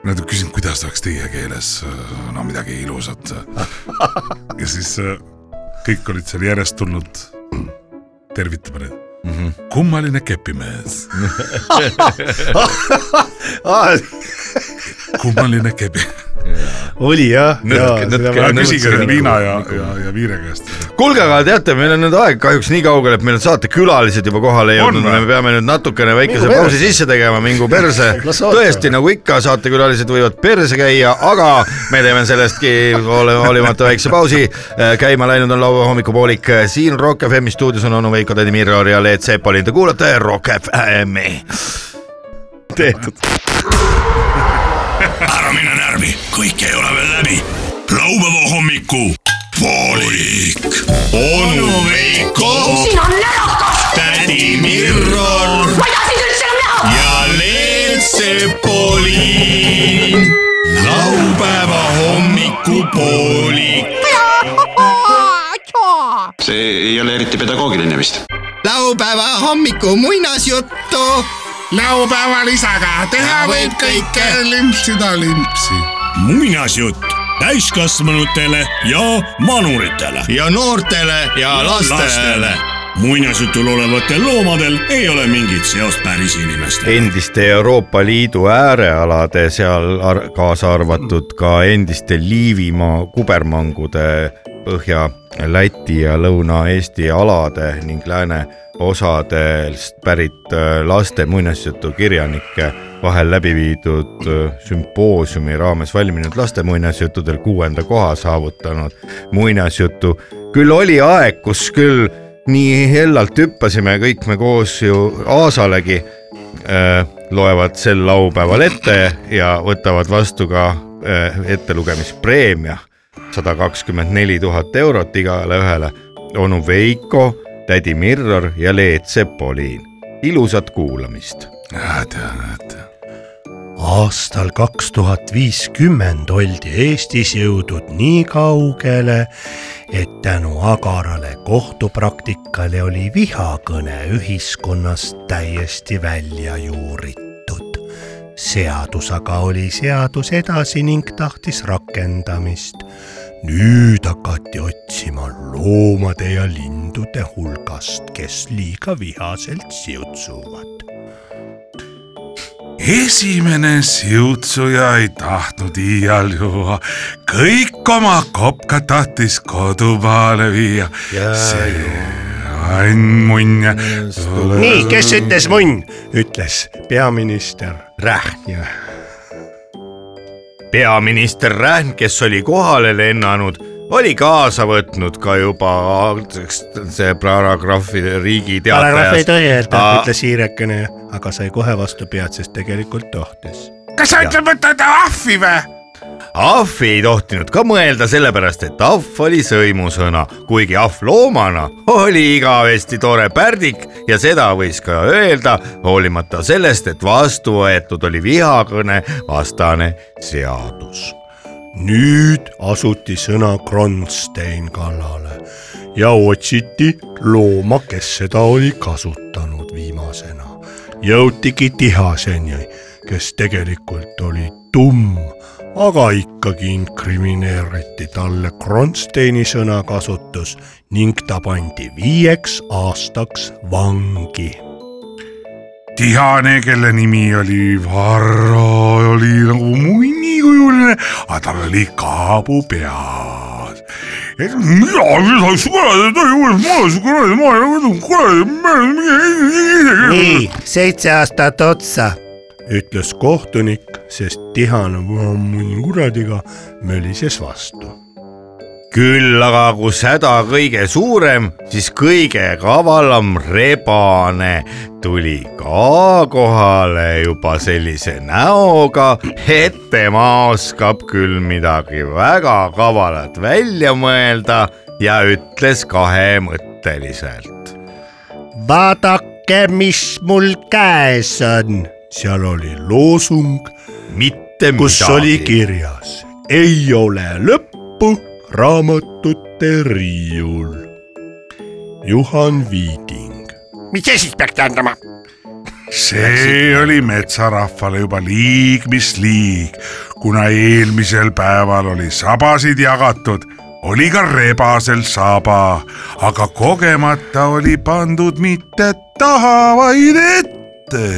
F: Nad küsisid , kuidas oleks teie keeles äh, no midagi ilusat . ja siis äh, kõik olid seal järjest tulnud tervitama neid mm .
D: Mhm.
F: -hmm. kummaline kepimees , kummaline kepi .
E: oli jah .
D: Nõtke- nõtke- nõtke-
F: Ja küsige
D: mõtlesin,
F: nüüd nagu
D: et
F: Liina ja , ja , ja Viire käest .
D: kuulge , aga teate , meil on nüüd aeg kahjuks nii kaugel , et meil on saatekülalised juba kohale
F: On
D: jõudnud ,
F: või?
D: me peame nüüd natukene väikese
E: Mingu perse.
D: pausi sisse tegema , mingu perse
E: Las . ootavad.
D: tõesti , nagu ikka , saatekülalised võivad perse käia , aga me teeme sellestki hooli- hoolimata väikse pausi . käima läinud on laupäeva hommikupoolik , siin Rock FM stuudios on onu Veiko , Tõni Mirror ja Leet Sepolin , te kuulate Rock FM-i . tehtud .
A: ära mine närvi , kõik ei ole veel läbi . laupäeva hommiku poolik . onu Veiko ,
B: siin on närakas ,
A: tädi Mirror
B: ma ei taha sind üldse enam näha .
A: ja Leet Sepolin . laupäeva hommikupoolik .
C: see ei ole eriti pedagoogiline vist .
G: laupäeva hommiku muinasjuttu .
F: laupäeval isaga teha
G: võib kõike.
F: limpsida limpsi .
A: muinasjutt täiskasvanutele ja vanuritele .
G: ja noortele ja lastele .
A: muinasjutul olevatel loomadel ei ole mingit seost päris inimestega .
D: endiste Euroopa Liidu äärealade , seal ar kaasa arvatud ka endiste Liivimaa kubermangude Põhja-Läti ja Lõuna-Eesti alade ning lääneosadest pärit äh, laste muinasjutukirjanike vahel läbi viidud äh, sümpoosiumi raames valminud laste muinasjuttudel kuuenda koha saavutanud muinasjutu . küll oli aeg , kus küll nii hellalt hüppasime kõik me koos ju Aasalegi äh, loevad sel laupäeval ette ja võtavad vastu ka äh, ettelugemispreemia sada kakskümmend neli tuhat eurot igale ühele onu Veiko , tädi Mirror ja Leet Sepoliin . ilusat kuulamist .
F: tean , et
E: aastal kaks tuhat viiskümmend oldi Eestis jõudnud nii kaugele , et tänu agarale kohtupraktikale oli vihakõne ühiskonnast täiesti välja juuritud . seadus aga oli seadus edasi ning tahtis rakendamist . nüüd hakati otsima loomade ja lindude hulgast , kes liiga vihaselt siutsuvad .
F: esimene siutsuja ei tahtnud iial juua , kõik oma kopkad tahtis kodumaale viia . see annmunn ja
E: nii , kes ütles munn , ütles peaminister Rähnja .
D: peaminister Rähn , kes oli kohale lennanud , oli kaasa võtnud ka juba algseks see paragrahvi Riigi
E: paragrahv ei
D: Teatajast .
E: tohi öelda
D: Aa. ,
E: ütles hiirekene , aga sai kohe vastu pead , sest tegelikult tohtis .
F: kas sa ütled , võtad ahvi või ?
D: ahv ei tohtinud ka mõelda , sellepärast et ahv oli sõimusõna , kuigi ahv loomana oli igavesti tore pärdik ja seda võis ka öelda , hoolimata sellest , et vastu võetud oli vihakõne vastane seadus .
E: nüüd asuti sõna Kronstein kallale ja otsiti looma , kes seda oli kasutanud viimasena . jõutigi Tihaseni , kes tegelikult oli tumm , aga ikkagi inkrimineeriti talle Kronsteini sõnakasutus ning ta pandi viieks aastaks vangi
F: tihane , kelle nimi oli Varro , oli nagu munnikujuline , aga tal oli kaabu peas . mina ei saa kuradi töö juures , ma olen su kuradi , ma olen kuradi .
E: nii , seitse aastat otsa , ütles kohtunik , sest tihane mõni kuradiga mölises vastu .
D: küll aga kus häda kõige suurem , siis kõige kavalam rebane tuli ka kohale juba sellise näoga , et tema oskab küll midagi väga kavalat välja mõelda ja ütles kahemõtteliselt .
E: vaadake , mis mul käes on . seal oli loosung ,
D: mitte
E: kus
D: midagi .
E: oli kirjas , ei ole lõppu raamatute riiul . Juhan Viiding .
F: see oli metsarahvale juba liig mis liig , kuna eelmisel päeval oli sabasid jagatud , oli ka rebasel saba , aga kogemata oli pandud mitte taha , vaid ette .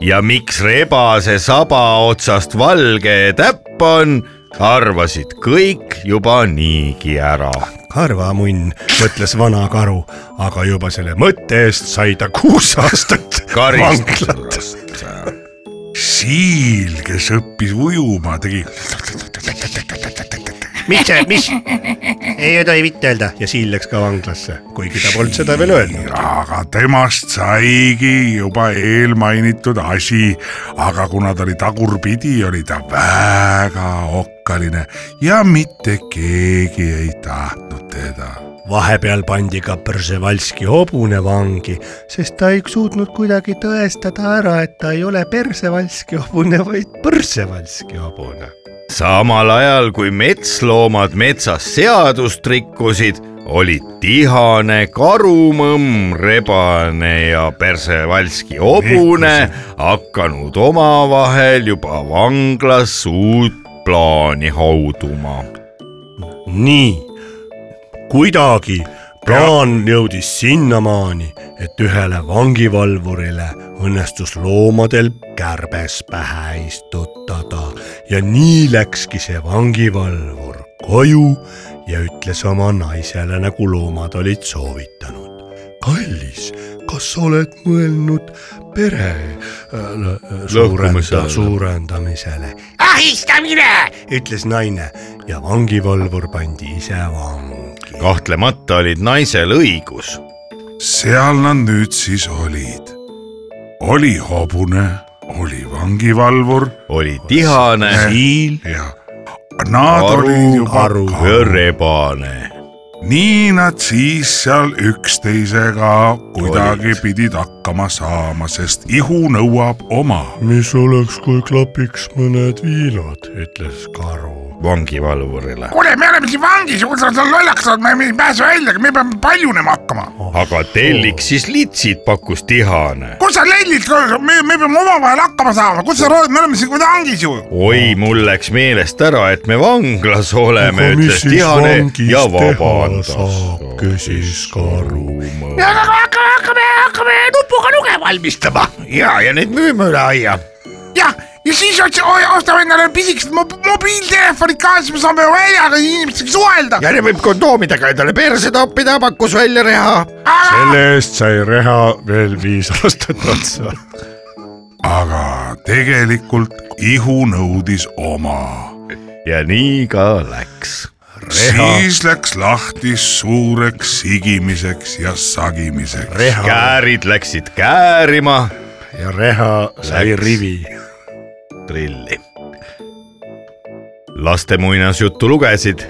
D: ja miks rebase saba otsast valge täpp on , arvasid kõik juba niigi ära
E: karvamunn , mõtles vana karu , aga juba selle mõtte eest sai ta kuus aastat vanglat .
D: karistusest .
F: siil , kes õppis ujuma , tegi .
E: mis see , mis ? ei tohi mitte öelda ja Siil läks ka vanglasse , kuigi ta polnud seda veel öelnud .
F: aga temast saigi juba eelmainitud asi , aga kuna ta oli tagurpidi , oli ta väga okkaline ja mitte keegi ei tahtnud teda .
E: vahepeal pandi ka Persevalski hobune vangi , sest ta ei suutnud kuidagi tõestada ära , et ta ei ole Persevalski hobune , vaid Persevalski hobune .
D: samal ajal kui metsloomad metsas seadust rikkusid , olid tihane , karumõmm , rebane ja persevalski hobune hakanud omavahel juba vanglas uut plaani hauduma .
E: nii , kuidagi plaan jõudis sinnamaani , et ühele vangivalvurile õnnestus loomadel kärbes pähe istutada ja nii läkski see vangivalvur koju ja ütles oma naisele , nagu loomad olid soovitanud . kallis , kas sa oled mõelnud pere äh, suurenda,
D: Lõhkumisele.
E: suurendamisele ? ahistamine , ütles naine ja vangivalvur pandi ise vangi .
D: kahtlemata olid naisel õigus ,
F: seal nad nüüd siis olid . oli hobune , oli vangivalvur
D: oli tihane
E: siil
F: ja nad
D: Aru,
F: olid juba
E: aru.
D: ja rebane .
F: nii nad siis seal üksteisega kuidagi pidid hakkama saama , sest ihu nõuab oma .
E: mis oleks , kui klapiks mõned viinad , ütles karu .
D: vangivalvurile .
F: kuule , me oleme siin vangis ja kui sa seal lollakas oled , me ei pääse välja , me peame paljunema hakkama .
E: Ah.
D: aga telliks siis litsid , pakkus tihane .
F: kus sa lellid , me , me peame omavahel hakkama saama , kus sa rood , me oleme siin kuradi vangis ju .
D: oi , mul läks meelest ära , et me vanglas oleme , ütles tihane ja vabandas .
E: Ah, küsis karu .
H: hakkame , hakkame , hakkame nupuga nuge valmistama .
D: ja , ja nüüd müüme üle aia .
F: jah , ja siis otsi- o- ostame endale pisikesed mob- mobiiltelefonid kaasa , siis me saame väljaga inimestega suhelda .
D: ja nüüd võib kondoomidega endale perse toppida , pakkus välja Reha .
E: selle eest sai reha veel viis aastat otsa .
F: aga tegelikult ihu nõudis oma
D: ja nii ka läks .
F: siis läks lahti suureks sigimiseks ja sagimiseks .
E: reha
D: käärid läksid käärima
E: ja reha sai
D: Läks.
E: rivi .
D: trilli . laste muinasjuttu lugesid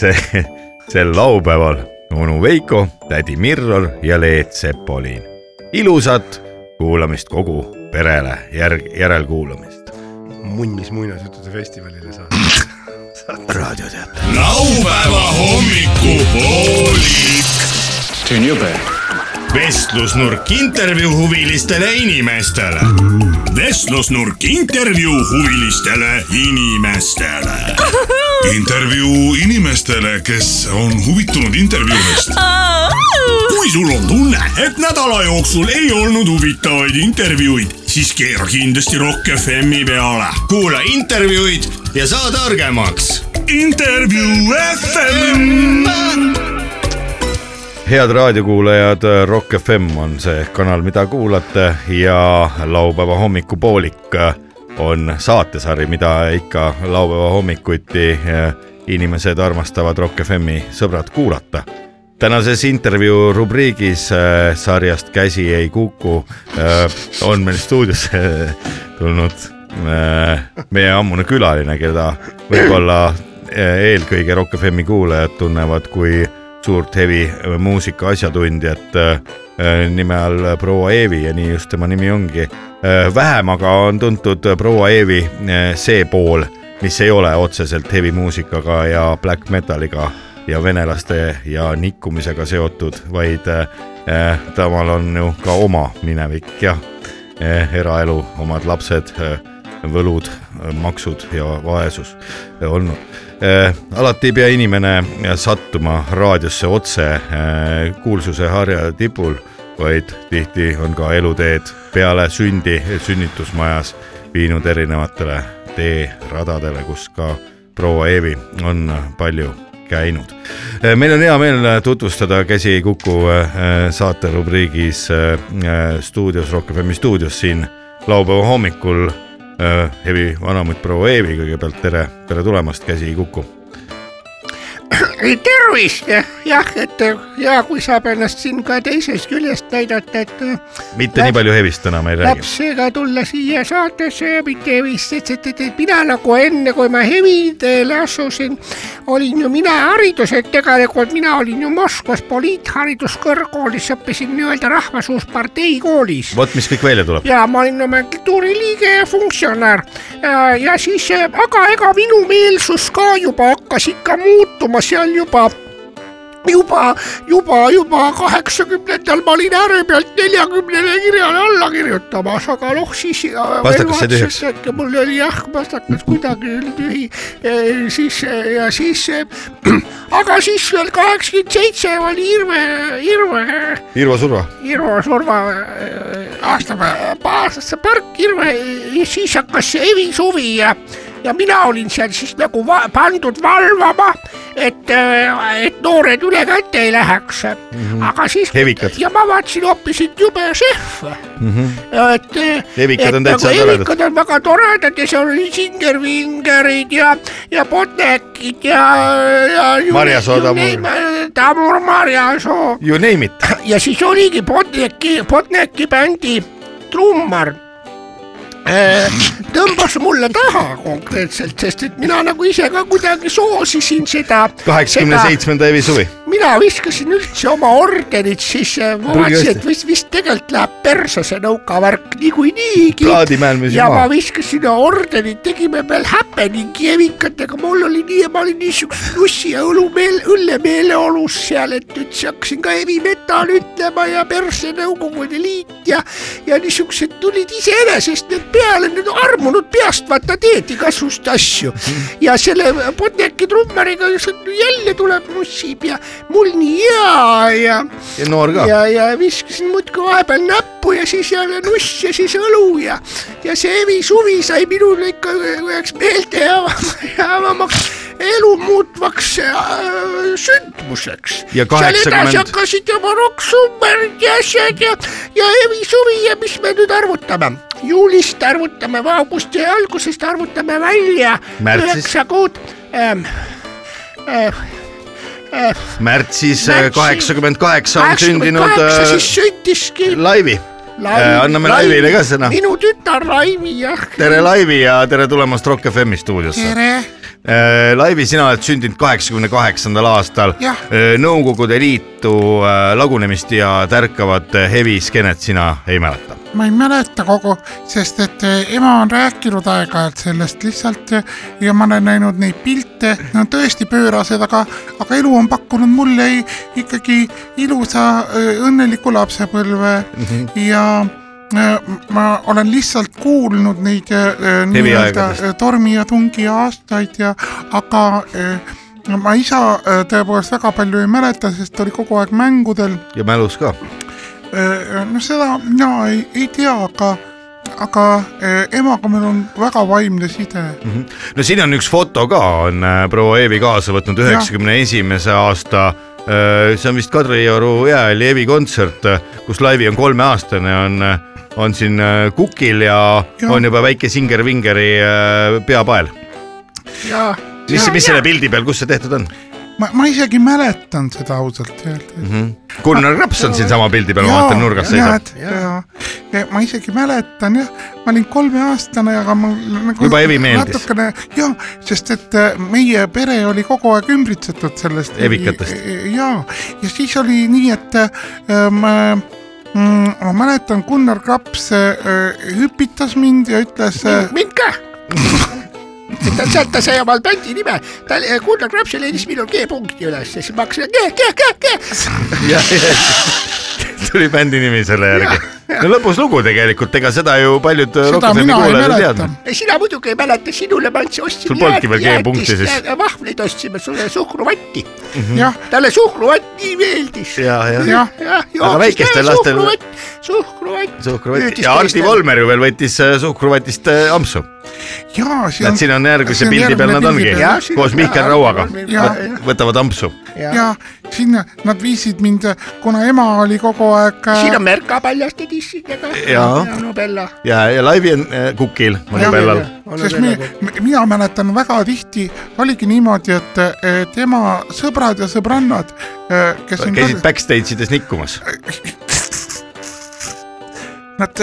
D: see , sel laupäeval onu Veiko , tädi Mirror ja Leet Sepolin . ilusat kuulamist kogu perele , järg , järelkuulamist .
E: munnis muinasjuttude festivalile saab .
A: laupäeva hommikupoolik .
I: see on jube .
A: vestlusnurk intervjuu huvilistele inimestele . vestlusnurk intervjuu huvilistele inimestele .
F: intervjuu inimestele , kes on huvitunud intervjuudest .
A: kui sul on tunne , et nädala jooksul ei olnud huvitavaid intervjuuid , siis keera kindlasti Rock FM-i peale .
J: kuula intervjuud ja saa targemaks .
A: intervjuu FM .
D: head raadiokuulajad , Rock FM on see kanal , mida kuulate ja laupäeva hommikupoolik on saatesari , mida ikka laupäeva hommikuti eh, inimesed armastavad Rock FM-i sõbrad kuulata . tänases intervjuu rubriigis eh, sarjast Käsi ei kuku eh, on meil stuudiosse tulnud eh, meie ammune külaline , keda võib-olla eh, eelkõige Rock FM-i kuulajad tunnevad kui suurt hevi äh, muusika asjatundjat äh, nime all proua Eevi ja nii just tema nimi ongi äh,. vähem aga on tuntud proua Eevi äh, see pool , mis ei ole otseselt hevi muusikaga ja black metaliga ja venelaste ja nikkumisega seotud , vaid äh, temal on ju ka oma minevik ja äh, eraelu , omad lapsed äh, võlud , maksud ja vaesus olnud . alati ei pea inimene sattuma raadiosse otse eh, kuulsuse harja tipul , vaid tihti on ka eluteed peale sündi sünnitusmajas viinud erinevatele teeradadele , kus ka proua Eevi on palju käinud . meil on hea meel tutvustada Käsi ei kuku eh, saaterubriigis eh, stuudios , Rock FM stuudios siin laupäeva hommikul Äh, Evi vanamutt proua Eevi kõigepealt tere , tere tulemast , käsi ei kuku .
H: tervist , jah , et hea , kui saab ennast siin ka teisest küljest näidata , et
D: mitte nii palju Evist täna me ei räägi .
H: lapsega tulla siia saatesse ja mitte vist , et , et , et , et mina nagu enne , kui ma heviteele asusin , olin ju mina hariduselt tegelikult , mina olin ju Moskvas poliithariduskõrgkoolis , õppisin nii-öelda rahvasuusparteikoolis .
D: vot , mis kõik välja tuleb .
H: ja ma olin oma kultuuriliige ja funktsionäär . ja siis , aga ega minu meelsus ka juba hakkas ikka muutuma seal juba juba , juba , juba kaheksakümnendal ma olin äärepealt neljakümnele kirjale alla kirjutamas , aga noh , siis .
D: Pastakas sai tühjaks.
H: et mul oli jah , pastakas kuidagi oli tühi , siis eh, ja siis , aga siis veel kaheksakümmend seitse oli Irve , Irve
D: Irva Surva ,
H: Irva surma äh, aastapäeva , aastasse park Irve ja siis hakkas see Evi suvi ja , ja mina olin seal siis nagu va pandud valvama , et , et noored üle käte ei läheks mm .
D: Mhm.
H: -hmm. aga siis
D: Hevikad.
H: ja ma vaatasin hoopis , et jube šef mm . -hmm. et äh,
D: Hevikad Mhm. on
H: et
D: täitsa
H: nagu
D: toredad.
H: hevikad on väga toredad ja seal oli Singer-Vingerid ja , ja Botnekid ja , ja .
D: Marjasoo, Tamur.
H: äh, Tamur Marjasoo
D: you name it .
H: ja siis oligi Botneki , Botneki bändi trummar
K: Äh, tõmbas mulle taha konkreetselt , sest et mina nagu ise ka kuidagi soosisin seda .
D: kaheksakümne . seitsmenda evi suvi .
K: mina viskasin üldse oma ordenid sisse , ma vaatasin , et vist , vist tegelikult läheb perse see nõukavärk niikuinii .
D: Plaadimäel müüsin
K: ja ma
D: maha.
K: viskasin ordenid , tegime veel happening'i evikatega , mul oli nii , ma olin niisuguse nussi ja õlumeel , õllemeeleolus seal , et üldse hakkasin ka heavy metal ütlema ja perse Nõukogude Liit ja , ja niisugused tulid iseenesest need peale , need armunud peast , vaata teed igasuguseid asju . ja selle Botneki trummariga jälle tuleb nussib ja mul nii hea ja
D: ja noor ka .
K: ja , ja viskasin muudkui vahepeal näppu ja siis jälle nuss ja siis õlu ja , ja see Evi suvi sai minule ikka üheks meeldejäävamaks , elu muutvaks äh, sündmuseks .
D: Ja 80
K: seal edasi hakkasid juba rokksummerd ja asjad ja , ja Evi suvi ja mis me nüüd arvutame , juulist arvutame , augusti algusest arvutame välja
D: Märtsist.
K: üheksa kuud ähm, . Äh, äh,
D: märtsis
K: Märtsi-
D: kaheksakümmend kaheksa on sündinud
K: 88
D: äh,
K: siis sündiski
D: Laivi .
K: Laivi-
D: anname
K: Laivi-
D: Laivile ka sõna .
K: minu tütar Laivi jah .
D: tere , Laivi ja tere tulemast Rock FM-i stuudiosse . Äh, Laivi , sina oled sündinud kaheksakümne kaheksandal aastal Äh,
K: Jah. .
D: Nõukogude Liitu äh, lagunemist ja tärkavat äh, heavy skeenet sina ei mäleta .
H: ma ei mäleta kogu , sest et äh, ema on rääkinud aeg-ajalt sellest lihtsalt äh, ja ma olen näinud neid pilte , need on tõesti pöörased , aga , aga elu on pakkunud mulle i- ikkagi ilusa äh, õnneliku lapsepõlve ja äh, ma olen lihtsalt kuulnud neid äh, äh, nii-öelda
D: Heviaegadest.
H: äh, tormi ja tungi aastaid ja aga äh, ma isa äh, tõepoolest väga palju ei mäleta , sest ta oli kogu aeg mängudel
D: ja mälus ka .
H: Eh, no seda mina ei , ei tea , aga , aga eh, emaga meil on väga vaimne side mm . -hmm.
D: Mhm. no siin on üks foto ka , on äh, proua Eevi kaasa võtnud üheksakümne esimese aasta äh, see on vist Kadrioru jäähalli Eevi kontsert , kus Laivi on kolmeaastane , on , on siin äh, kukil ja, ja.
H: Jah.
D: on juba väike Singer-Vingeri äh, peapael .
H: ja
D: mis , mis selle pildi peal , kus see tehtud on
H: ma , ma isegi mäletan seda ausalt öelda mm .
D: mm. ? Gunnar Raps on siinsama pildi peal , ma vaatan nurgas seisab ..
H: ja, ja ma isegi mäletan jah , ma olin kolmeaastane , aga ma nagu,
D: Juba Evi meeldis.
H: natukene ja , sest et eh, meie pere oli kogu aeg ümbritsetud sellest .
D: Evikatest.
H: ja , ja siis oli nii , et eh, ma mm, ma mäletan , Gunnar Kraps eh, hüpitas mind ja ütles , äh,
K: mind ka ta sealt ta sai omal bändi nime , ta oli- Gunnar Krapsi leidis minul G-punkti üles ja siis ma hakkasin G , G , G , G .
D: tuli bändi nimi selle järgi . no lõbus lugu tegelikult , ega seda ju paljud
H: seda
D: rokkfilmi
H: mina ei
D: kuulajad ei
H: mäleta
D: teadnud .
K: sina muidugi ei mäleta , sinule ma andsin , ostsin
D: Sul polnudki veel
K: jäätist-
D: G-punkti siis.
K: jää- vahvleid ostsime sulle suhkruvatti ,
D: Mhm.
H: jah ,
K: talle suhruvatt nii meeldis .
D: ja , ja
H: jah ,
D: Aga väikestel lastel-
K: suhruvatt ,
D: suhkruvatt
K: Müüdis
D: ja Hardi
K: teistele.
D: Volmer ju veel võttis äh, suhkruvatist äh, ampsu .
H: ja see
D: näed ,
H: on
D: siin on järgmise
H: see on
D: pildi peal
H: järgmine
D: nad
H: pildi
D: ongi
H: peal.
K: Jah, siin
D: koos
K: on
D: Mihkel
K: Hardi
D: Rauaga ,
K: Volmeriga.
D: võtavad ampsu .
H: ja sinna nad viisid mind , kuna ema oli kogu aeg . äh,
K: siin on Merka paljaste tissidega
D: Jaa.
K: ja Nobella .
D: ja , ja Laivi on äh, kukil ,
H: Jah.
D: Monibellal .
H: sest me, me- mina mäletan väga tihti oligi niimoodi , et , et ema sõbrad ja sõbrannad , kes on
D: käisid backstage ides nikkumas .
H: nad ,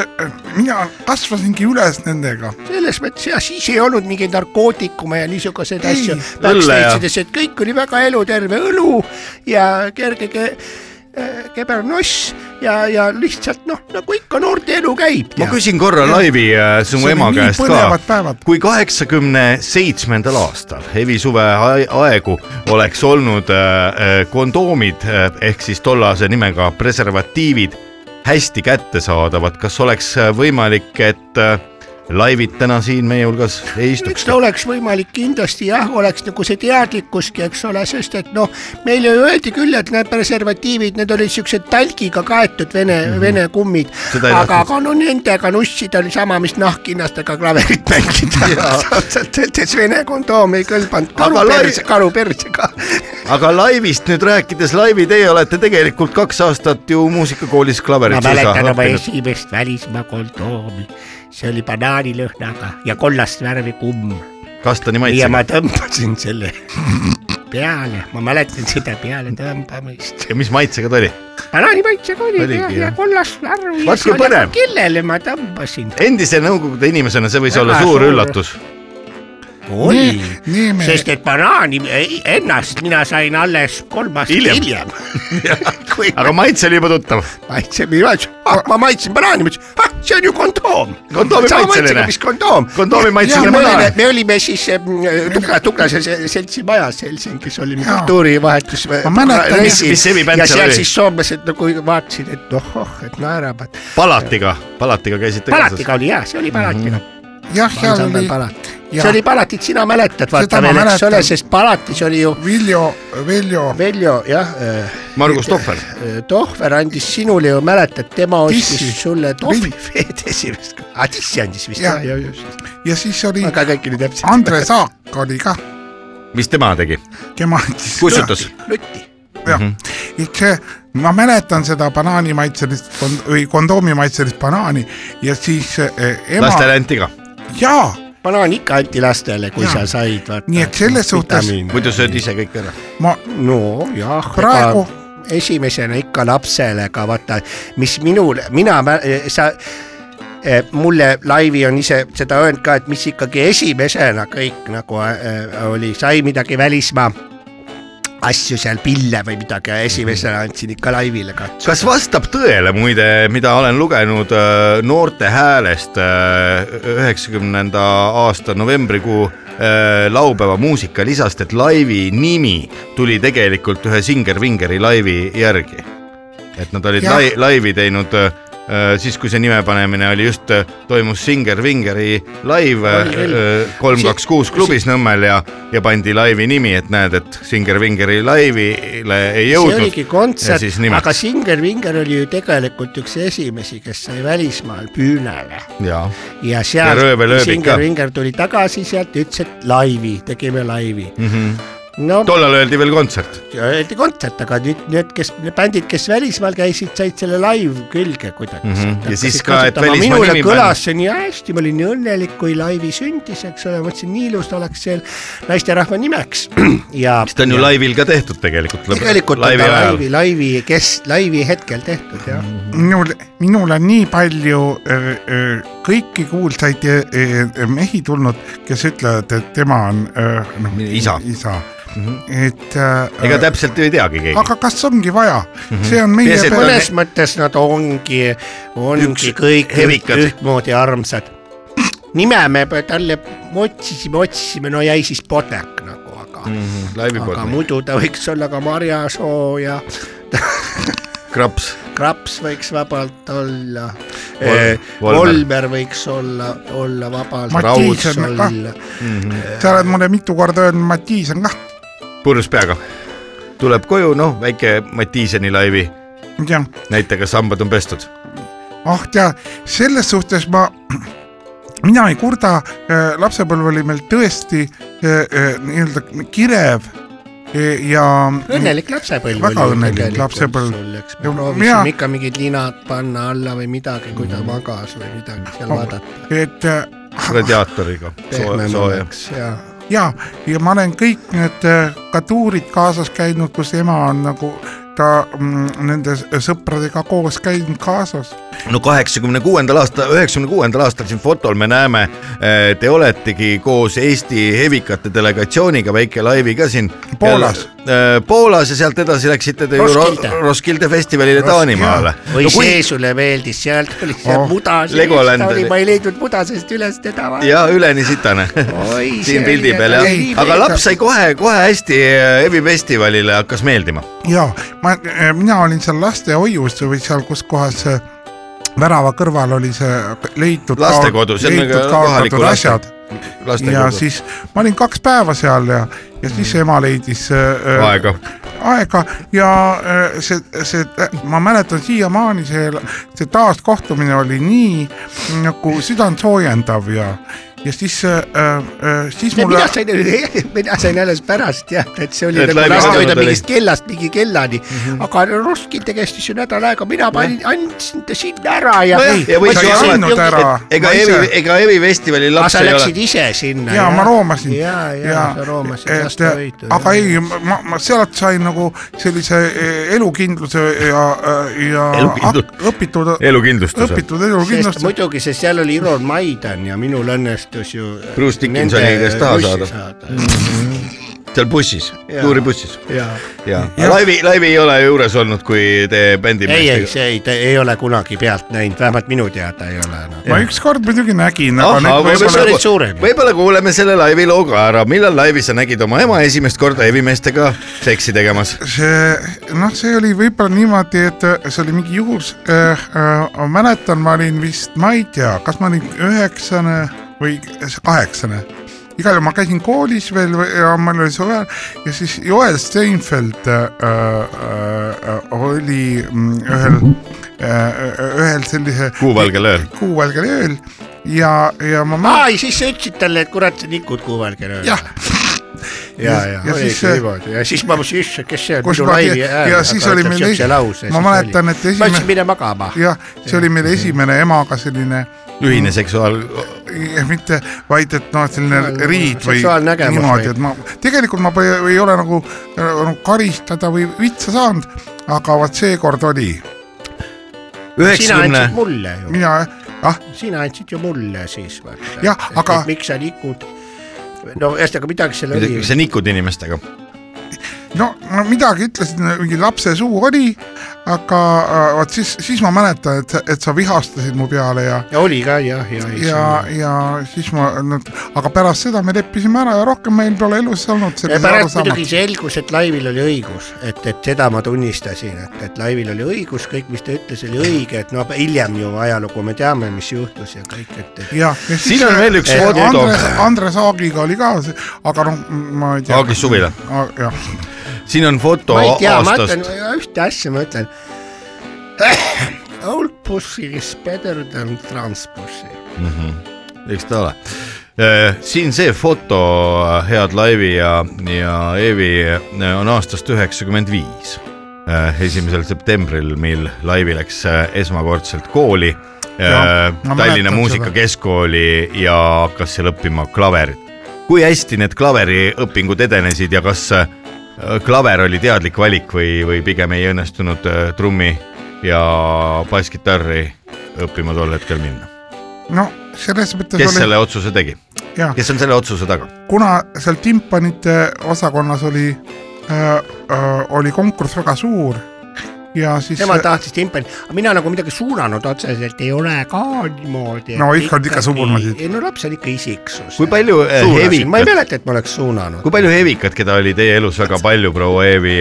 H: mina kasvasingi üles nendega .
K: selles mõttes ja siis ei olnud mingeid narkootikume ja niisuguseid
H: Ei,
K: asju .
D: õlle ja-
K: et kõik oli väga eluterve õlu ja kerge ke- , äh, kebernoss ja , ja lihtsalt noh , nagu ikka noorte elu käib .
D: ma küsin korra Laivi äh, sinu
H: See oli
D: ema
H: nii
D: käest
H: põnevad
D: ka
H: päevad. .
D: kui kaheksakümne seitsmendal aastal hevisuve ae- aegu oleks olnud äh, äh, kondoomid äh, ehk siis tollase nimega preservatiivid hästi kättesaadavad , kas oleks äh, võimalik , et äh, Laivid täna siin meie hulgas ei istuks
K: eks ? ta oleks võimalik kindlasti jah , oleks nagu see teadlikkuski , eks ole , sest et noh , meile ju öeldi küll , et need preservatiivid , need olid siuksed talgiga kaetud vene mm , -hmm. vene kummid ,
D: Mhm. Seda ei
K: aga ,
D: tahtnud.
K: aga no nendega nussida oli sama , mis nahkhinnastega klaverit mängida . ausalt öeldes vene kondoom ei kõlbanud , karu
D: Aga lai-
K: perse , karu persega .
D: aga Laivist nüüd rääkides , Laivi , teie olete tegelikult kaks aastat ju muusikakoolis klaverit
K: ma mäletan oma
D: õppinud.
K: esimest välismaa kondoomi , see oli banaanilõhnaga ja kollast värvi kumm
D: kastani maitsega .
K: ja ma tõmbasin selle peale , ma mäletan seda pealetõmbamist .
D: ja mis maitsega ta oli ?
K: banaanimaitsega oli ja,
D: Oligi,
K: ja
D: jah.
K: kollas narv .
D: Vaat kui põnev.
K: kellele ma tõmbasin ?
D: endise Nõukogude inimesena see võis olla
K: Väga
D: suur
K: suur.
D: üllatus .
K: oli ,
H: nii me
K: sest et banaani ei, ennast mina sain alles kolm aastat
D: Hiljem.
K: hiljem, hiljem. . kui
D: aga maitse oli juba tuttav .
K: maitse , mina ütlesin , ah ma maitsen banaani , ma ütlesin , ah see on ju kondoom .
D: Kondoomi maitseline.
K: mis kondoom .
D: Kondoomi maitseline
K: me
D: banaan.
K: olime , me olime siis eh, m, Tugla , Tuglase se- seltsi majas Helsingis olime
H: Jaa.
K: kultuurivahetus .
H: Ma mäletan,
D: mis- mis semibänd
K: ja
D: seal
K: seal
D: oli?
K: siis soomlased nagu vaatasid , et ohoh , et naeravad .
D: Palatiga , Palatiga käisite
K: Palatiga oli jaa , see oli
D: Mhm.
K: Palatiga mm .
H: jah , seal oli
K: -hmm.
H: jaa.
K: see oli Palatit , sina mäletad , vaata
H: Seda ma
K: veel , eks ole ,
H: mäletan.
K: sest Palatis oli ju
H: Viljo , Veljo ,
K: Veljo jah ,
D: Margus Tohver .
K: Tohver andis sinule ju , mäletad , tema
H: Tissi.
K: ostis sulle tohvi
H: Ring.
K: veed esimest korda , aa tissi andis vist
H: Jah.
K: jah , jah just ,
H: ja siis oli
K: aga kõik oli täpselt .
H: Andres Aak oli kah ,
D: mis tema tegi ?
H: tema andis .
D: kustutas .
K: Lutti ,
H: jah ,
D: Mhm.
H: et see , ma mäletan seda banaanimaitselist kond- või kondoomimaitselist banaani ja siis eh, ema ,
D: lastele anti ka .
H: jaa ,
K: banaan ikka anti lastele , kui
H: Jaa.
K: sa said vaata .
H: Nii et selles suhtes-
D: muidu sööd ise kõik ära .
H: ma ,
K: no jah ,
H: Praegu-
K: esimesena ikka lapsele ka vaata , mis minul , mina , sa eh, mulle Laivi on ise seda öelnud ka , et mis ikkagi esimesena kõik nagu eh, oli , sai midagi välismaa asju seal , pille või midagi , esimesena andsin ikka Laivile ka .
D: kas vastab tõele muide , mida olen lugenud äh, Noorte Häälest äh, üheksakümnenda aasta novembrikuu äh, laupäeva muusikalisast , et laivi nimi tuli tegelikult ühe Singer Vingeri laivi järgi . et nad olid
H: Jah.
D: lai, laivi teinud äh, siis , kui see nime panemine oli just , toimus Singer Vingeri laiv äh, kolm , kaks , kuus klubis Nõmmel ja , ja pandi laivi nimi , et näed , et Singer Vingeri laivile ei
K: see
D: jõudnud
K: oligi . kontsert
D: ja siis , nimeks.
K: aga Singer Vinger oli ju tegelikult üks esimesi , kes sai välismaal püünele
D: jaa
K: ja
D: Ja
K: seal
D: Röövel ööbik ka.
K: Singer Vinger tuli tagasi sealt , ütles , et laivi , tegime laivi
D: mm . -hmm.
K: no
D: tollal öeldi veel kontsert .
K: öeldi kontsert , aga nüüd need , kes need bändid , kes välismaal käisid , said selle live külge kuidagi
D: Mhm.
K: mm .
D: Ja siis ka, et välismaa
K: minule
D: nimi
K: kõlas see nii hästi , ma olin nii õnnelik , kui laivi sündis , eks ole , mõtlesin , nii ilus oleks seal naisterahva nimeks ja .
D: sest ta on ju laivil ka tehtud tegelikult .
K: tegelikult on ta laivi , laivi , kes laivi hetkel tehtud jah .
H: minul , minul on nii palju öö, öö, kõiki kuulsaid öö, öö, mehi tulnud , kes ütlevad , et tema on öö, noh,
D: Isa. Mhm.
H: isa. , et äh,
D: ega täpselt ju ei teagi keegi .
H: aga kas ongi vaja mm , -hmm. see on meie
D: Peaasi, et
H: peal-
K: mõnes mõttes nad ongi ,
D: Üks
K: ongi kõik üht,
D: hevikad.
K: ühtmoodi armsad . nime me pe- talle otsisime , otsisime , no jäi siis Podek nagu , aga mm ,
D: Mhm, laivi
K: -hmm. aga
D: poolt ,
K: muidu ta võiks olla ka Marjasoo ja
D: kraps .
K: Kraps võiks vabalt olla
D: Vol- . eh, Volmer.
K: Volmer võiks olla , olla vabalt .
H: Matiis on ka. sa oled mulle mitu korda öelnud , Matiis on kah ,
D: purjus peaga . tuleb koju , noh , väike Matiiseni laivi ,
H: jah
D: näita , kas hambad on pestud .
H: ah tea , selles suhtes ma , mina ei kurda , lapsepõlv oli meil tõesti äh, äh, nii-öelda kirev äh, ja
K: õnnelik lapsepõlv .
H: Väga õnnelik lapsepõlv. Ja mina-
K: proovisime ikka mingid linad panna alla või midagi , kui
D: Mm.
K: ta magas või midagi seal
H: Oh.
K: vaadata .
H: et äh,
D: radiaatoriga ,
K: pehmem
D: sooja .
K: oleks ja
H: ja , ja ma olen kõik need äh, ka tuurid kaasas käinud , kus ema on nagu ta mm, nende s- sõpradega koos käinud kaasas .
D: no kaheksakümne kuuendal aastal , üheksakümne kuuendal aastal siin fotol me näeme , te oletegi koos Eesti hevikate delegatsiooniga väike laivi ka siin .
H: Poolas. .
D: Poolas ja sealt edasi läksite te ju
K: Roskilde.
D: Ro- Roskilde festivalile Taanimaale .
K: või no, kui... see sulle meeldis , seal tuli see
H: Oh,
K: oh, muda ,
D: Legoland oli.
K: ma ei leidnud mudasest üles teda .
D: ja üleni sitane
K: Oi,
D: siin
K: see
D: pildi
K: oli-
D: peal jah
K: ei, ,
D: aga
K: ei,
D: laps sai kohe-kohe hästi äh, Evi festivalile hakkas meeldima .
H: ja ma , mina olin seal lastehoius või seal , kus kohas äh, värava kõrval oli see leitud .
D: Lastekodu, see on nagu
H: leitud
D: kohaliku
H: kaotatud
D: laste- Mm.
H: asjad ja siis ma olin kaks päeva seal ja , ja siis ema leidis äh, äh,
D: aega ,
H: aega ja äh, see , see , ma mäletan siiamaani see , see taaskohtumine oli nii nagu südantsoojendav ja , ja siis äh, , äh, siis
K: Ja
H: mulle
K: mina sain , mina sain alles pärast teada , et see oli
D: Et
K: nagu
D: läbi
K: lasteaeda
D: saanud oli. Mhm.
K: mingist kellast mingi kellani mm , -hmm. aga Roskilde kestis ju nädal aega , mina panin , andsin ta sinna ära ja
D: Nojah, ja võis
K: Ma
D: ju
K: ei
D: alati-
K: saanud
H: ära.
D: ega
H: Ma ise-
D: Evi , ega Evi festivali
K: aga
D: laps
K: sa
D: ei
K: läksid
D: ole .
K: ise sinna .
H: ja ma roomasin .
K: ja , ja sa roomasid , las ta võitu .
H: aga ei , ma , ma sealt sain nagu sellise eh, elukindluse ja , ja
D: Elukindlu-
H: hak- õpitud ,
D: elukindlustuse .
H: õpitud
K: sest
H: elukindlustuse .
K: muidugi , sest seal oli Iron Maidan ja minul õnnestus ju .
D: Bruce Dickinsoni käest taha saada. seal bussis ,
K: Jaa.
D: tuuribussis .
K: jaa ,
D: ja laivi , laivi ei ole juures olnud , kui te
K: ei , ei ,
D: bändimeestega .
K: see ei , ei ole kunagi pealt näinud , vähemalt minu teada ei ole noh. no. .
H: ma ükskord muidugi nägin , aga
D: Ahah,
H: nüüd
D: Ah, võib-olla- nagu-
K: sa
H: võib-olla
K: olid suurem .
D: võib-olla kuuleme selle laivi loo ka ära , millal laivi sa nägid oma ema esimest korda evimeestega seksi tegemas ?
H: see , noh , see oli võib-olla niimoodi , et äh, see oli mingi juhus äh, . Äh, ma mäletan , ma olin vist , ma ei tea , kas ma olin üheksane või kaheksane . igal juhul ma käisin koolis veel või- ja meil oli suvel ja siis Joel Steinfeld äh, äh, äh, oli mm, ühel äh, , ühel sellise
D: kuuvalgel ööl .
H: kuuvalgel ööl ja , ja ma mäletan .
K: aa , ja siis sa ütlesid talle , et kurat , sa nikud kuuvalge lööd . ja
H: Jah. ,
K: ja
H: Ja- , ja
K: ja
H: siis,
K: oligi
H: äh,
K: niimoodi ja siis ma mõtlesin , issand , kes see on ,
H: kus
K: minu
H: ma
K: laivi
H: tean-
K: hääl .
H: ja siis oli meil esi- ma mäletan, et
K: ma
H: esimene-
K: ütlesin , mine magama .
H: jah , see oli meil esimene emaga selline
D: ühine seksuaal ,
H: Ja mitte , vaid et noh , et selline riid või
K: seksuaalnägemus
H: niimoodi ,
K: või-
H: et ma tegelikult ma põ- ei ole nagu äh, nagu karistada või vitsa saanud , aga vot seekord oli ,
K: sina
D: üheksakümne
K: andsid , mulle ju ,
H: mina ah ,
K: sina andsid ju mulle siis vaata .
H: Jah, aga-
K: miks sa nikud ? no ühesõnaga midagi seal oli .
D: sa nikud inimestega .
H: no ma midagi ütlesin , mingi lapse suu oli , aga äh, vot siis , siis ma mäletan , et , et sa vihastasid mu peale ja
K: ja oli ka jah , ja ,
H: ja , ja siis ma , aga pärast seda me leppisime ära ja rohkem meil pole elus olnud
K: ja
H: sellist
K: pärast muidugi
H: arusaamat .
K: selgus , et Laivil oli õigus , et , et seda ma tunnistasin , et , et Laivil oli õigus , kõik , mis ta ütles , oli õige , et noh , hiljem ju ajalugu me teame , mis juhtus ja kõik , et, et
H: ja , ja siis
D: siin on veel üks foto
H: Andres , Andres Aagiga oli ka see , aga noh , ma ei tea .
D: Aagist Suvila. .
H: jah
D: siin on foto
K: ma ei tea , ma
D: aastast
K: ütlen , ühte asja ma ütlen . Old pussy is better than trans pussy .
D: eks ta ole . siin see foto , head Laivi ja , ja Eevi eh, on aastast üheksakümmend viis . esimesel septembril , mil Laivi läks eh, esmakordselt kooli
H: Jah,
D: eh,
H: ma
D: Tallinna
H: mäletan
D: Muusikakeskkooli ja hakkas seal õppima klaverit . kui hästi need klaveriõpingud edenesid ja kas eh, klaver oli teadlik valik või , või pigem ei õnnestunud eh, trummi ja basskitarri õppima tol hetkel minna ?
H: no selles mõttes
D: kes
H: oli
D: selle otsuse tegi ?
H: ja
D: kes on selle otsuse taga ?
H: kuna seal timpanite osakonnas oli äh, , äh, oli konkurss väga suur ja siis
K: tema tahtis timpani , mina nagu midagi suunanud otseselt ei ole ka niimoodi .
H: No ikka- ikka suunasid.
K: ei no laps on ikka isiksus .
D: kui palju eh,
K: ma ei
D: hevikat ,
K: mäleta , et ma oleks suunanud .
D: kui palju hevikat , keda oli teie elus väga palju , proua Eevi ,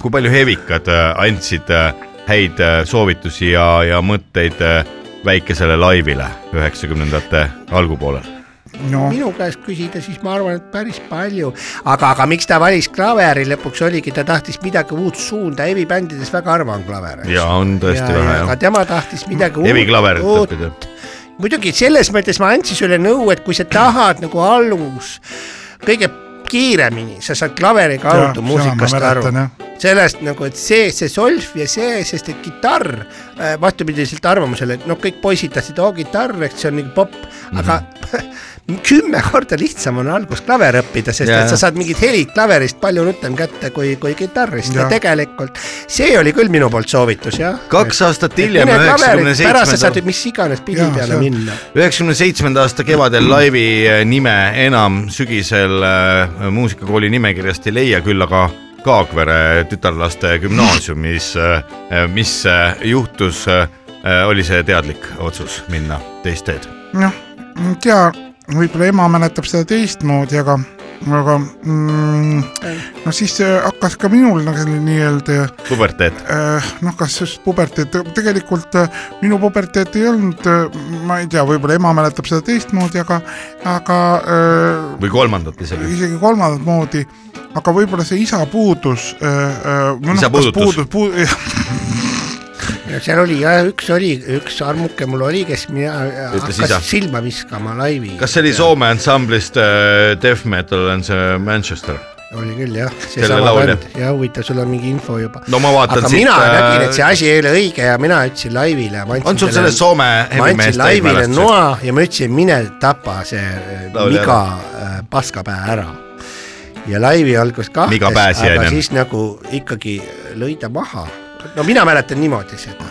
D: kui palju hevikad eh, andsid eh, häid eh, soovitusi ja , ja mõtteid eh, väikesele laivile üheksakümnendate algupoolel ?
H: no
K: minu käest küsida , siis ma arvan , et päris palju , aga , aga miks ta valis klaveri lõpuks oligi , ta tahtis midagi uut suunda , Evi bändides väga harva on klaver .
D: ja on tõesti ja, vähe
K: aga
D: jah .
K: tema tahtis midagi
D: Evi klaver
K: uut ,
D: õppida .
K: muidugi selles mõttes ma andsin sulle nõu , et kui sa tahad nagu alus kõige kiiremini , sa saad klaveri kaudu
H: Jaa,
K: muusikast
H: seda ma
K: aru
H: mäletan, jah. .
K: sellest nagu , et see , see solf ja see , sest et kitarr äh, vastupidiselt arvamusele , et noh , kõik poisid tahtsid , oo kitarr , eks see on nagu popp ,
D: Mhm.
K: aga kümme korda lihtsam on alguses klaver õppida , sest
D: Jaa.
K: et sa saad mingid helid klaverist palju rutem kätte kui , kui kitarrist ja.
H: Jah.
K: ja tegelikult see oli küll minu poolt soovitus jah .
D: kaks aastat hiljem , üheksakümne
K: pärast sa saad
D: seitsmendal ,
K: mis iganes pidi
H: Jaa, see
K: peale
H: on-
K: minna .
D: üheksakümne seitsmenda aasta kevadel laivi eh, nime enam sügisel eh, muusikakooli nimekirjast ei leia , küll aga Kaagvere tütarlaste gümnaasiumis , mis eh, juhtus , oli see teadlik otsus minna teist teed ?
H: noh , ma ei tea , võib-olla ema mäletab seda teistmoodi , aga , aga mm, no siis äh, hakkas ka minul nagu selline nii-öelda
D: puberteet ,
H: äh, noh , kas just puberteet , tegelikult äh, minu puberteet ei olnud , ma ei tea , võib-olla ema mäletab seda teistmoodi , aga , aga äh,
D: või kolmandat isegi .
H: isegi kolmandat moodi , aga äh, võib-olla see isa noh, puudus .
D: Isa puudutus.
H: puudus , puudus ,
K: no seal oli jah , üks oli , üks armuke mul oli , kes mina hakkas
D: isa.
K: isa. silma viskama laivi .
D: kas see oli Soome ansamblist äh, Death Metal on see Manchester ?
K: oli küll jah ,
D: Kelle
K: seesama
D: laulja?
K: bänd ja huvitav , sul on mingi info juba .
D: No ma vaatan
K: aga
D: siit,
K: mina
D: äh,
K: nägin , et see asi ei ole õige ja mina ütlesin laivile .
D: On sul sellest Soome
K: ma andsin
D: hevimeest täis
K: laivile
D: mälestused?
K: noa ja ma ütlesin , mine tapa see äh,
D: Laulja
K: miga äh, paskapää ära . ja laivi algas
D: Miga
K: kahtes ,
D: pääsja
K: aga
D: ennem.
K: siis nagu ikkagi lõi ta maha . no mina mäletan niimoodi seda ,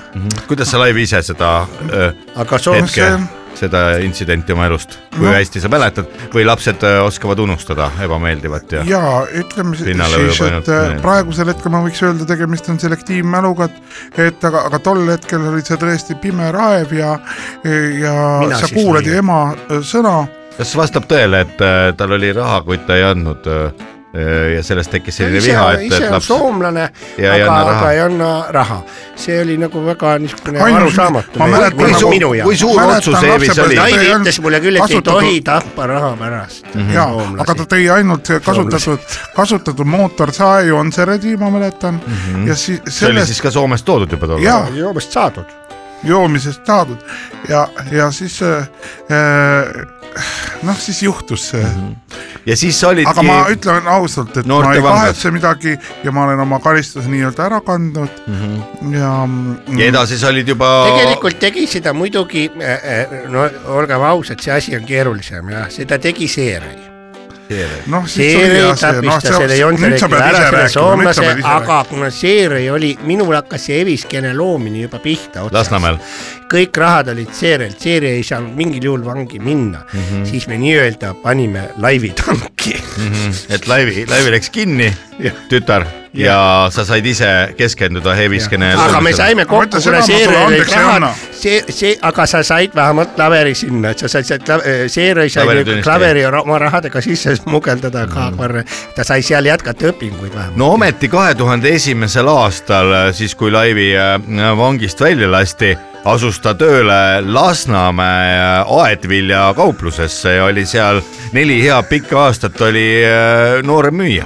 D: kuidas sa laivi ise seda äh,
K: aga so-
D: hetke
K: see- ,
D: seda intsidenti oma elust , kui hästi sa mäletad või lapsed äh, oskavad unustada ebameeldivat ja,
H: ja ütleme si-
D: Pinnale
H: siis ,
D: ujub
H: et
D: ainult
H: äh,
D: meelde.
H: praegusel hetkel ma võiks öelda , tegemist on selektiivmäluga , et et aga , aga tol hetkel oli see tõesti pime raev ja ja
D: Mina
H: Mina sa
D: siis
H: kuulad
D: nii.
H: ema äh, sõna
D: kas vastab tõele , et äh, tal oli raha , kuid ta ei andnud äh, äh, ja sellest tekkis selline
K: ise,
D: viha , et ,
K: ise
D: et
K: on
D: laps
K: soomlane ,
D: Ja ei
K: aga ,
D: anna raha.
K: aga ei anna raha . see oli nagu väga niisugune
H: Ainus-
K: arusaamatu .
H: ma mäletan nagu- kui suur Mäletan otsus lapsepõlve- Eevis oli?
K: Taivi
H: ei olnud
K: ütles mulle küll , et ei
H: kasutatud-
K: tohi tappa raha pärast .
H: ja , aga ta tõi ainult kasutatud , kasutatud mootorsaeju on see redi , ma mäletan mm . -hmm. ja siis
D: see oli
H: sellest
D: siis ka Soomest toodud juba tol
H: Jaa.
D: ajal .
K: joomist saadud .
H: joomisest saadud ja , ja siis äh, äh, noh , siis juhtus see mm . -hmm
D: ja siis sa olidki
H: aga ma ütlen ausalt , et ma
D: noorte
H: ei
D: vanglas.
H: kahetse midagi ja ma olen oma karistuse nii-öelda ära kandnud mm -hmm. ja mm,
D: ja edasi sa olid juba
K: tegelikult tegi seda muidugi , no olgem ausad , see asi on keerulisem jah , seda tegi Seeri .
H: noh , siis oli
K: Seeri
H: jah see ,
K: tappis
H: noh ,
K: ta selle
H: nüüd sa
K: Jonterekiga
H: pead
K: ära ,
H: ise rääkima ,
K: selle
H: nüüd sa
K: soomlase
H: pead , ise
K: aga kuna Seeri oli , minul hakkas see eviskeene loomine juba pihta otsast .
D: Lasnamäel .
K: kõik rahad olid Seerelt , Seeri ei saanud mingil juhul vangi minna mm , -hmm. siis me nii-öelda panime laivi tanki .
D: Mhm. et laivi , laivi läks kinni , tütar ja sa said ise keskenduda Heeviskene .
K: aga me saime kokku , kuna Seerel olid rahad , see , see , aga sa said vähemalt klaveri sinna , et sa said sealt , eh, Seeri sai
D: Klaveri
K: nihuke
D: tunnist,
K: klaveri ra- oma rahadega sisse smugeldada ka
H: Mm.
K: korra , ta sai seal jätkata õpinguid vähemalt .
D: no ometi kahe tuhande esimesel aastal , siis kui Laivi äh, vangist välja lasti , asus ta tööle Lasnamäe äh, aedvilja kauplusesse ja oli seal neli head pikka aastat oli äh, noorem müüja .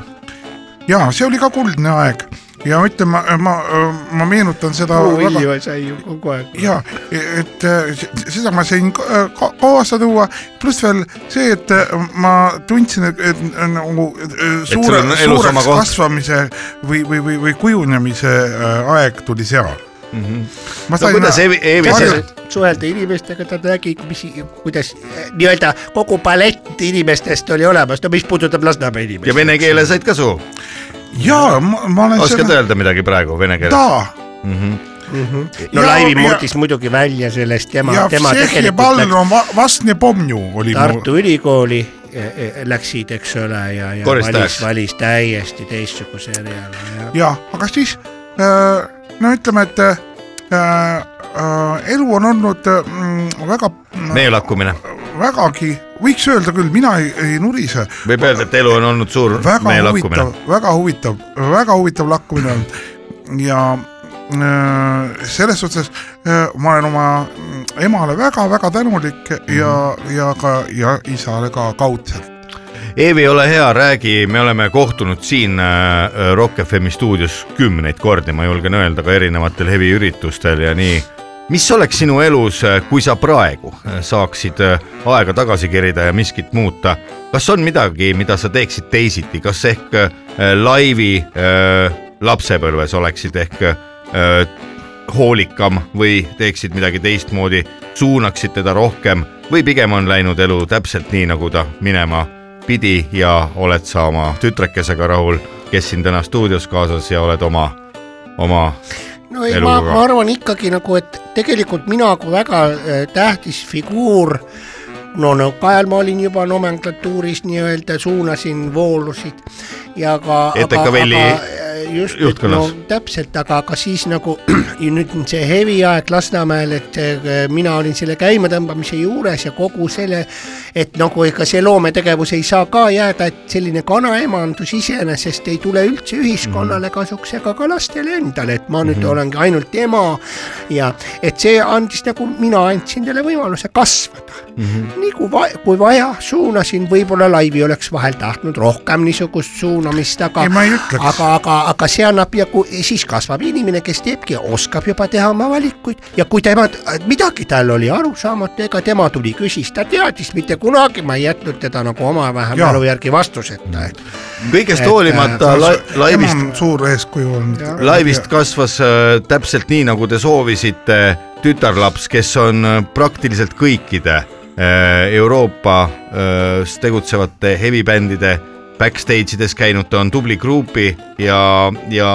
H: ja see oli ka kuldne aeg ja ütleme , ma , ma meenutan seda väga
K: puuvilju sai ju kogu aeg .
H: ja et äh, s- seda ma sain ka- äh, ka- kaasa tuua , pluss veel see , et äh, ma tundsin , et et nagu äh,
D: sul
H: suure
D: on , elus oma
H: suureks
D: koht.
H: kasvamise või , või , või , või kujunemise äh, aeg tuli seal
D: mm .
K: Mhm.
D: -hmm.
H: ma
D: no kuidas Eevi , Eevi siis
H: harjut-
K: suhelda inimestega , ta nägi , mis , kuidas eh, nii-öelda kogu palett inimestest oli olemas , no mis puudutab Lasnamäe inimesi .
D: ja vene keele said ka suhu ,
H: jaa , ma olen
D: oskad öelda midagi praegu vene keeles ?
H: da ,
D: mm . -hmm.
K: mm . -hmm. no
H: Ja-
K: Laivi
H: ja-
K: murdis muidugi välja sellest , tema ,
H: ja
K: tema
H: Vsehi
K: tegelikult läks
H: Pallon vastne pomju oli
K: Tartu Ülikooli eh, eh, läksid , eks ole , ja , ja
H: Koristajaks.
K: valis , valis täiesti teistsuguse eriala ja
H: ja aga siis äh, no ütleme , et äh, äh, elu on olnud mm, väga ,
D: meelakkumine ,
H: vägagi , võiks öelda küll , mina ei, ei nurise ,
D: võib öelda , et elu on olnud suur
H: väga
D: meelakkumine
H: huvitav , väga huvitav , väga huvitav lakkumine on ja äh, selles suhtes äh, ma olen oma mm, emale väga-väga tänulik ja , ja ka ja isale ka kaudselt .
D: Eevi , ole hea , räägi , me oleme kohtunud siin äh, Rock FM stuudios kümneid kordi , ma julgen öelda , ka erinevatel heviüritustel ja nii . mis oleks sinu elus , kui sa praegu äh, saaksid äh, aega tagasi kerida ja miskit muuta , kas on midagi , mida sa teeksid teisiti , kas ehk äh, laivi äh, lapsepõlves oleksid ehk äh, hoolikam või teeksid midagi teistmoodi , suunaksid teda rohkem või pigem on läinud elu täpselt nii , nagu ta minema pidi ja oled sa oma tütrekesega rahul , kes siin täna stuudios kaasas ja oled oma , oma
K: no ei , ma , ma
D: eluga .
K: arvan ikkagi nagu , et tegelikult mina kui väga eh, tähtis figuur , no nõukaajal ma olin juba nomenklatuuris nii-öelda , suunasin voolusid ja ka
D: ETK
K: aga-
D: Velli
K: aga, eh, just , et no
D: juhtkonnas.
K: täpselt , aga , aga siis nagu ja nüüd on see heviaeg Lasnamäel , et eh, mina olin selle käimatõmbamise juures ja kogu selle , et nagu ega see loometegevus ei saa ka jääda , et selline kanaemandus iseenesest ei tule üldse ühiskonnale kasuks ega ka lastele endale , et ma nüüd mm -hmm. olengi ainult ema ja et see andis nagu , mina andsin talle võimaluse kasvada mm . -hmm. nii kui vaja , kui vaja , suunasin , võib-olla Laivi oleks vahel tahtnud rohkem niisugust suunamist , aga
H: ei , ma ei ütleks .
K: aga , aga , aga see annab ja kui eh, siis kasvab inimene , kes teebki , oskab juba teha oma valikuid ja kui tema , midagi tal oli arusaamatu , ega tema tuli , küsis , ta teadis mitte kunagi , ma ei jätnud teda nagu omavahel
H: Jaa.
K: mälu järgi vastuseta , et
D: kõigest
K: Et,
D: hoolimata
H: äh,
D: lai-
H: tema
D: laivist ,
H: on suur eeskuju olnud .
D: laivist kasvas äh, täpselt nii , nagu te soovisite , tütarlaps , kes on äh, praktiliselt kõikide äh, Euroopas tegutsevate heavy-bändide backstage ides käinud , ta on tubli gruupi ja , ja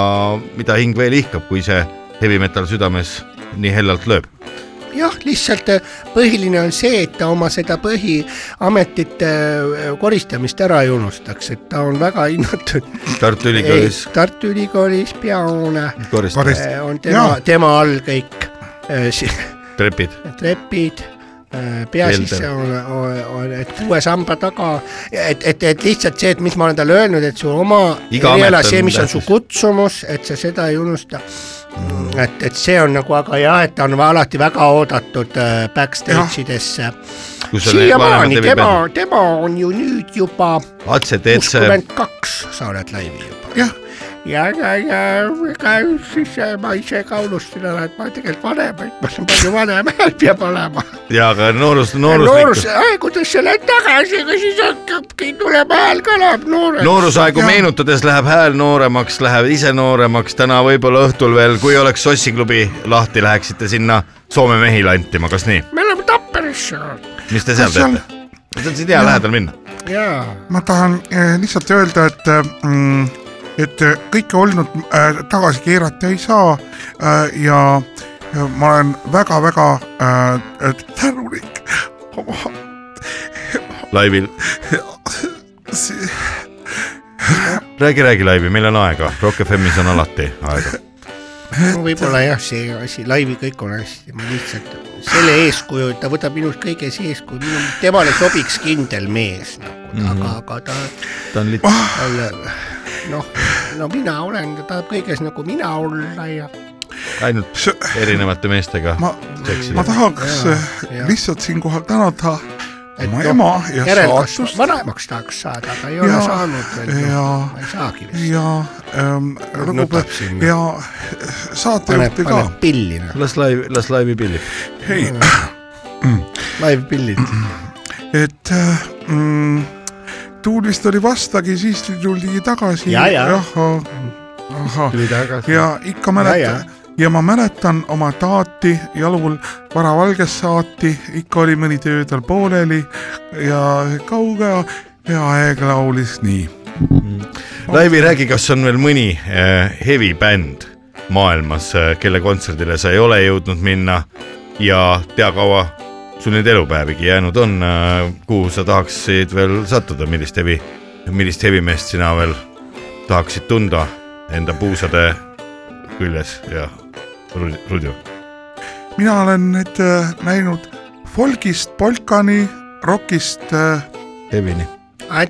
D: mida hing veel ihkab , kui see heavy metal südames nii hellalt lööb .
K: jah , lihtsalt eh, põhiline on see , et ta oma seda põhiametit eh, koristamist ära ei unustaks , et ta on väga hinnatud .
D: Tartu Ülikoolis
K: Tartu Ülikoolis peahoone
D: koristab
H: korist-
K: eh, on tema
H: Jaa. ,
K: tema all kõik eh, si-
D: trepid .
K: trepid , pea
D: Kelder.
K: sisse on, on , on , et kuue samba taga , et , et , et lihtsalt see , et mis ma olen talle öelnud , et su oma
D: Iga amet
K: eriala ,
D: on
K: see , mis on su
D: tähtis. Mm.
K: kutsumus , et sa seda ei unusta . et , et see on nagu , aga jah , et ta on alati väga oodatud äh, backstage idesse .
D: kus on
K: siiamaani
D: vanemad
K: tema
D: heavy-bändid .,
K: tema on ju nüüd juba
D: ACDC
K: kuuskümmend kaks , sa oled laivi juba .
H: jah ,
K: ja , ja , ja ega siis äh, ma ise ka unustasin ära , et ma tegelikult vanem , et ma olen palju vanem peab olema
D: ja ka noorus , nooruslikkus
K: noorus ,. aegudesse lähed tagasi , aga siis hakkabki tulema hääl kõlab noorelt .
D: noorusaegu meenutades läheb hääl nooremaks , läheb ise nooremaks , täna võib-olla õhtul veel , kui oleks sossiklubi lahti , läheksite sinna Soome mehi lantima , kas nii ?
K: me oleme Tapperisse olnud .
D: mis te seal
H: Kas seal-
D: teete ? see on siin hea lähedal minna .
K: jaa .
H: ma tahan eh, lihtsalt öelda , et mm, et eh, kõike olnud eh, tagasi keerata ei saa eh, ja ja ma olen väga-väga eh, tänulik oma
D: laivil ,
H: si-
D: räägi , räägi laivi , meil on aega , Rock FM-is on alati aega .
K: võib-olla jah , see asi , laivi kõik on hästi , ma lihtsalt selle eeskuju , et ta võtab minust kõiges eeskuju , temale sobiks kindel mees nagu , aga , aga ta
D: ta on lihtsalt ,
K: talle noh , no mina olen , ta tahab kõiges nagu mina olla ja
D: ainult
H: s-
D: erinevate meestega
H: ma , ma
D: seksida .
H: tahaks
K: Jaa,
H: eh,
K: jaa.
H: lihtsalt siinkohal tänada
K: Et
H: oma
K: noh,
H: ema ja
K: järelkasv ,
H: saatust
K: vanemaks tahaks saada , aga ei ole
H: Jaa,
K: saanud veel ,
H: jaa.
K: ma ei saagi vist .
H: ja ähm,
K: nutab
H: lugupeetud
K: sinna.
H: ja saatejuhti
K: paneb ,
H: ka
K: paneb pilli noh ,
D: las laiv , las laivi pillib .
H: Hei.
K: live pillid .
H: et äh, mm, tuulist oli vastagi , siis tuli tagasi .
K: Ja, ja.
H: ahah , ahah ,
K: tuli tagasi .
H: ja ikka
K: Ja,
H: mäletan
K: ja.
H: ja ma mäletan oma taati jalul varavalges saati , ikka oli mõni töö tal pooleli ja kauge ja aeg laulis nii .
D: Laivi , räägi , kas on veel mõni äh, heavy bänd maailmas , kelle kontserdile sa ei ole jõudnud minna ja tea kaua sul neid elupäevigi jäänud on , kuhu sa tahaksid veel sattuda , millist heavy , millist heavy meest sina veel tahaksid tunda enda puusade küljes ja ru- rudju ?
H: mina olen nüüd äh, näinud folgist polkani , rokist äh,
D: Hevini .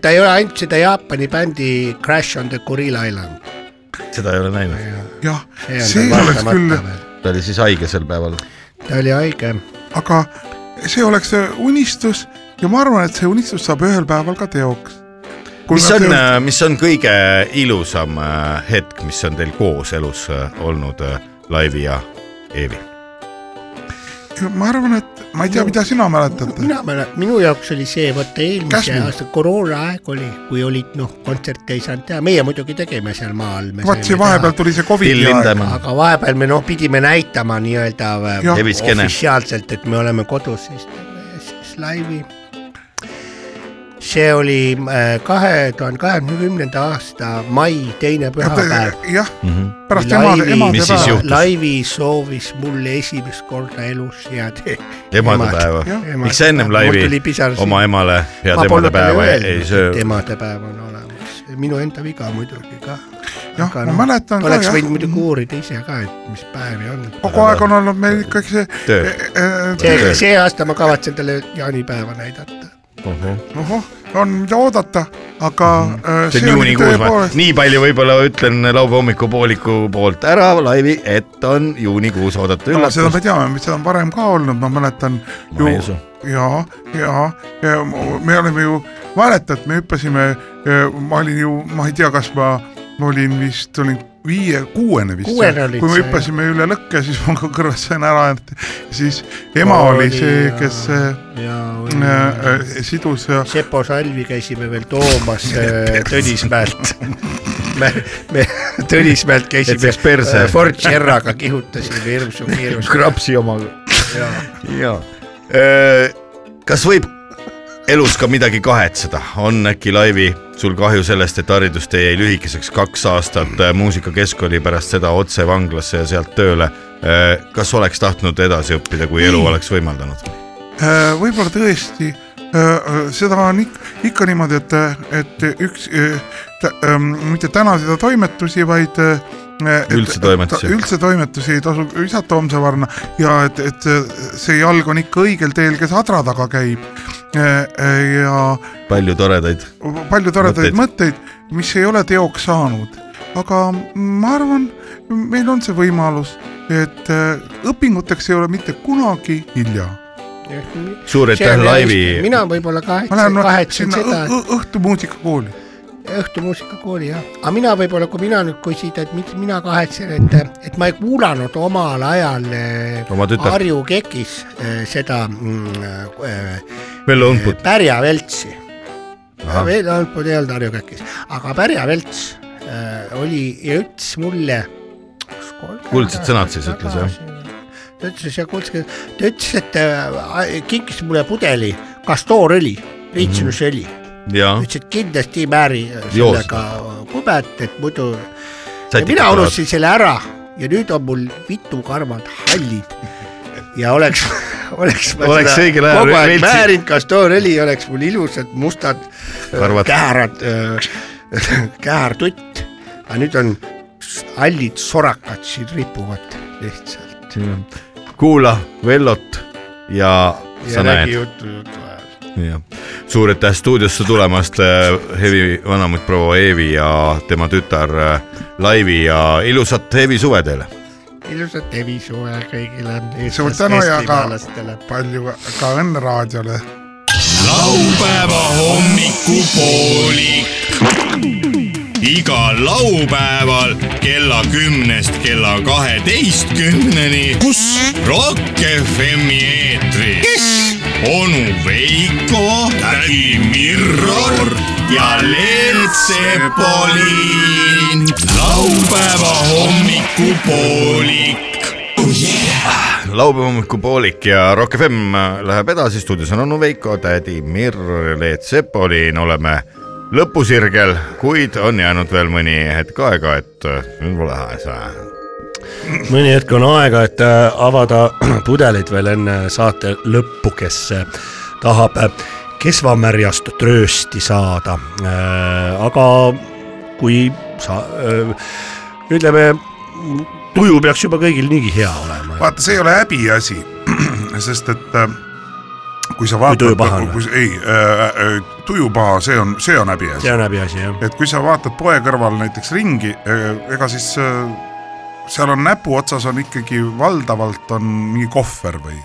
K: ta ei ole ainult seda Jaapani bändi Crash on the Gorilla Island .
D: seda ei ole näinud ,
H: jah , see oleks küll ,
D: ta oli siis haige sel päeval .
K: ta oli haige ,
H: aga see oleks äh, unistus ja ma arvan , et see unistus saab ühel päeval ka teoks .
D: mis on , äh, mis on kõige ilusam äh, hetk , mis on teil koos elus äh, olnud äh, Laivi ja Eevi ?
H: ma arvan , et ma ei tea , mida sina mäletad .
K: mina mäletan , minu jaoks oli see , vaata eelmise
H: Käsmu.
K: aasta koroona aeg oli , kui olid noh , kontserte ei saanud teha , meie muidugi tegime seal maa all .
H: vaat see vahepeal tuli see Covidi aeg .
K: aga vahepeal me noh , pidime näitama nii-öelda äh,
H: Jah.
D: Heviskene.
K: ofitsiaalselt , et me oleme kodus , siis teeme siis laivi . see oli äh, kahe tuhande kahekümnenda aasta mai teine pühapäev .
H: äh, jah , pärast ema ,
D: Mhm. Mis siis
H: emadepäeva
D: juhtus? .
K: laivi soovis mulle esimest korda elus head
D: emadepäeva
H: Jah. .
D: miks sa ennem Laivi oma emale head emadepäeva ei- ei söö ?
K: emadepäev on olemas , minu enda viga muidugi ka .
H: Jah, Noh, ma mäletan ka,
K: oleks
H: jah.
K: võinud muidugi uurida ise ka , et mis päevi on .
H: kogu aeg on olnud meil ikkagi see e,
D: Töö.
H: töö
K: see , see aasta ma kavatsen talle jaanipäeva näidata .
H: ohoh , on mida oodata , aga äh,
D: Mhm. see on juunikuus , ma
H: tõepoolest ,
D: nii palju võib-olla ütlen laupäeva hommikupooliku poolt ära , Laivi , et on juunikuus oodata
H: No, seda me
D: üllatust .
H: teame , seda on varem ka olnud , ma mäletan
D: Ma
H: ju
D: ei usu.
H: ja , ja , ja mu- me oleme ju , mäletad , me hüppasime , ma olin ju , ma ei tea , kas ma ma olin vist , olin viie-kuuene vist ,
K: Kuuene oli
H: kui me
K: see,
H: hüppasime üle lõkke , siis ma ka kõrvast sain ära , et siis ema oli see , kes äh,
K: ja
H: äh, äh, sidus ja
K: Mm, Sepo Salvi käisime veel toomas äh, Tõnismäelt . me , me Tõnismäelt
D: Et läks
K: käisime
D: perse.
K: äh, Ford Sierraga kihutasime hirmsu kiirusega .
D: krapsi omaga . jaa . kas võib elus ka midagi kahetseda , on äkki Laivi sul kahju sellest , et haridustee jäi lühikeseks kaks aastat äh, muusikakeskkooli pärast seda otse vanglasse ja sealt tööle . kas oleks tahtnud edasi õppida , kui elu oleks võimaldanud ?
H: Äh, võib-olla tõesti , seda on ik ikka niimoodi , et , et üks , mitte täna seda toimetusi , vaid äh, et-
D: Üldse toimetusi.
H: ta- üldse toimetusi ei tasu visata homse varna ja et , et äh, see jalg on ikka õigel teel , kes adra taga käib . ja
D: palju toredaid .
H: palju toredaid
D: Mõtteid.
H: mõtteid, mõtteid , mis ei ole teoks saanud , aga ma arvan , meil on see võimalus , et äh, õpinguteks ei ole mitte kunagi hilja
D: suur aitäh , Laivi .
K: mina võib-olla
H: ma lähen
K: kahetsen ,
H: no,
K: kahetsen
H: sinna
K: seda ,
H: õ- õ- õhtumuusikakooli .
K: õhtumuusikakooli jah , aga mina võib-olla , kui mina nüüd küsid , et miks mina kahetsen , et , et ma ei kuulanud omal ajal äh,
D: Oma tütart.
K: Harju kekis äh, seda mm, äh,
D: Vello Õmput .
K: Pärja Veltsi . veel allpool ei olnud Harju kekis , aga Pärja Velts äh, oli ja ütles mulle .
D: Kuldsed sõnad siis ütles, jah? ?
K: ta ütles ja kuldsed , ta ütles , et äh, kinkis mulle pudeli kastoorõli , riitsinusõli mm . -hmm
D: jaa .
K: ütles , et kindlasti ei määri
D: Joo
K: sellega kubet , et muidu . mina unustasin selle ära ja nüüd on mul vitu karvad hallid ja oleks , oleks ma
D: Oleks
K: seda
D: õigel ajal
K: kogu aeg
D: veitsi-
K: määrinud kastoorõli , oleks mul ilusad mustad
D: Karvad.
K: karvad. käärad , käärtutt , aga nüüd on s- hallid sorakad siin ripuvad lihtsalt .
D: kuula Vellot ja, ja
K: ja
D: sa näed
K: räägi . juttu jutu ajal .
D: jah , suur aitäh stuudiosse tulemast , Hevi vanamutt proua Eevi ja tema tütar äh, Laivi ja ilusat Hevi suve teile .
K: ilusat evisuve kõigile .
H: suur tänu ja ka palju ka õnne raadiole .
G: laupäeva hommikupoolik . igal laupäeval kella kümnest kella kaheteistkümneni . kus ? Rock FM-i eetris . kes ? onu Veiko , tädi Mirror ja Leelt Sepolin . laupäeva hommikupoolik .
D: laupäeva hommikupoolik ja Rock FM läheb edasi , stuudios on onu Veiko , tädi Mirr , Leet Sepolin , oleme lõpusirgel , kuid on jäänud veel mõni hetk aega , et äh, nüüd pole aega .
E: mõni hetk on aega , et äh, avada pudelid veel enne saate lõppu , kes äh, tahab äh, kesvamärjast tröösti saada . aga kui sa , ütleme , tuju peaks juba kõigil niigi hea olema .
F: vaata , see ei ole häbiasi , sest et äh, kui sa
E: tuju
F: vaatad
E: paha on ,
F: kui ei äh, , tuju paha , see on , see on häbiasi
E: see . on häbiasi jah .
F: et kui sa vaatad poe kõrval näiteks ringi , ega siis äh, seal on näpuotsas on ikkagi valdavalt on mingi kohver või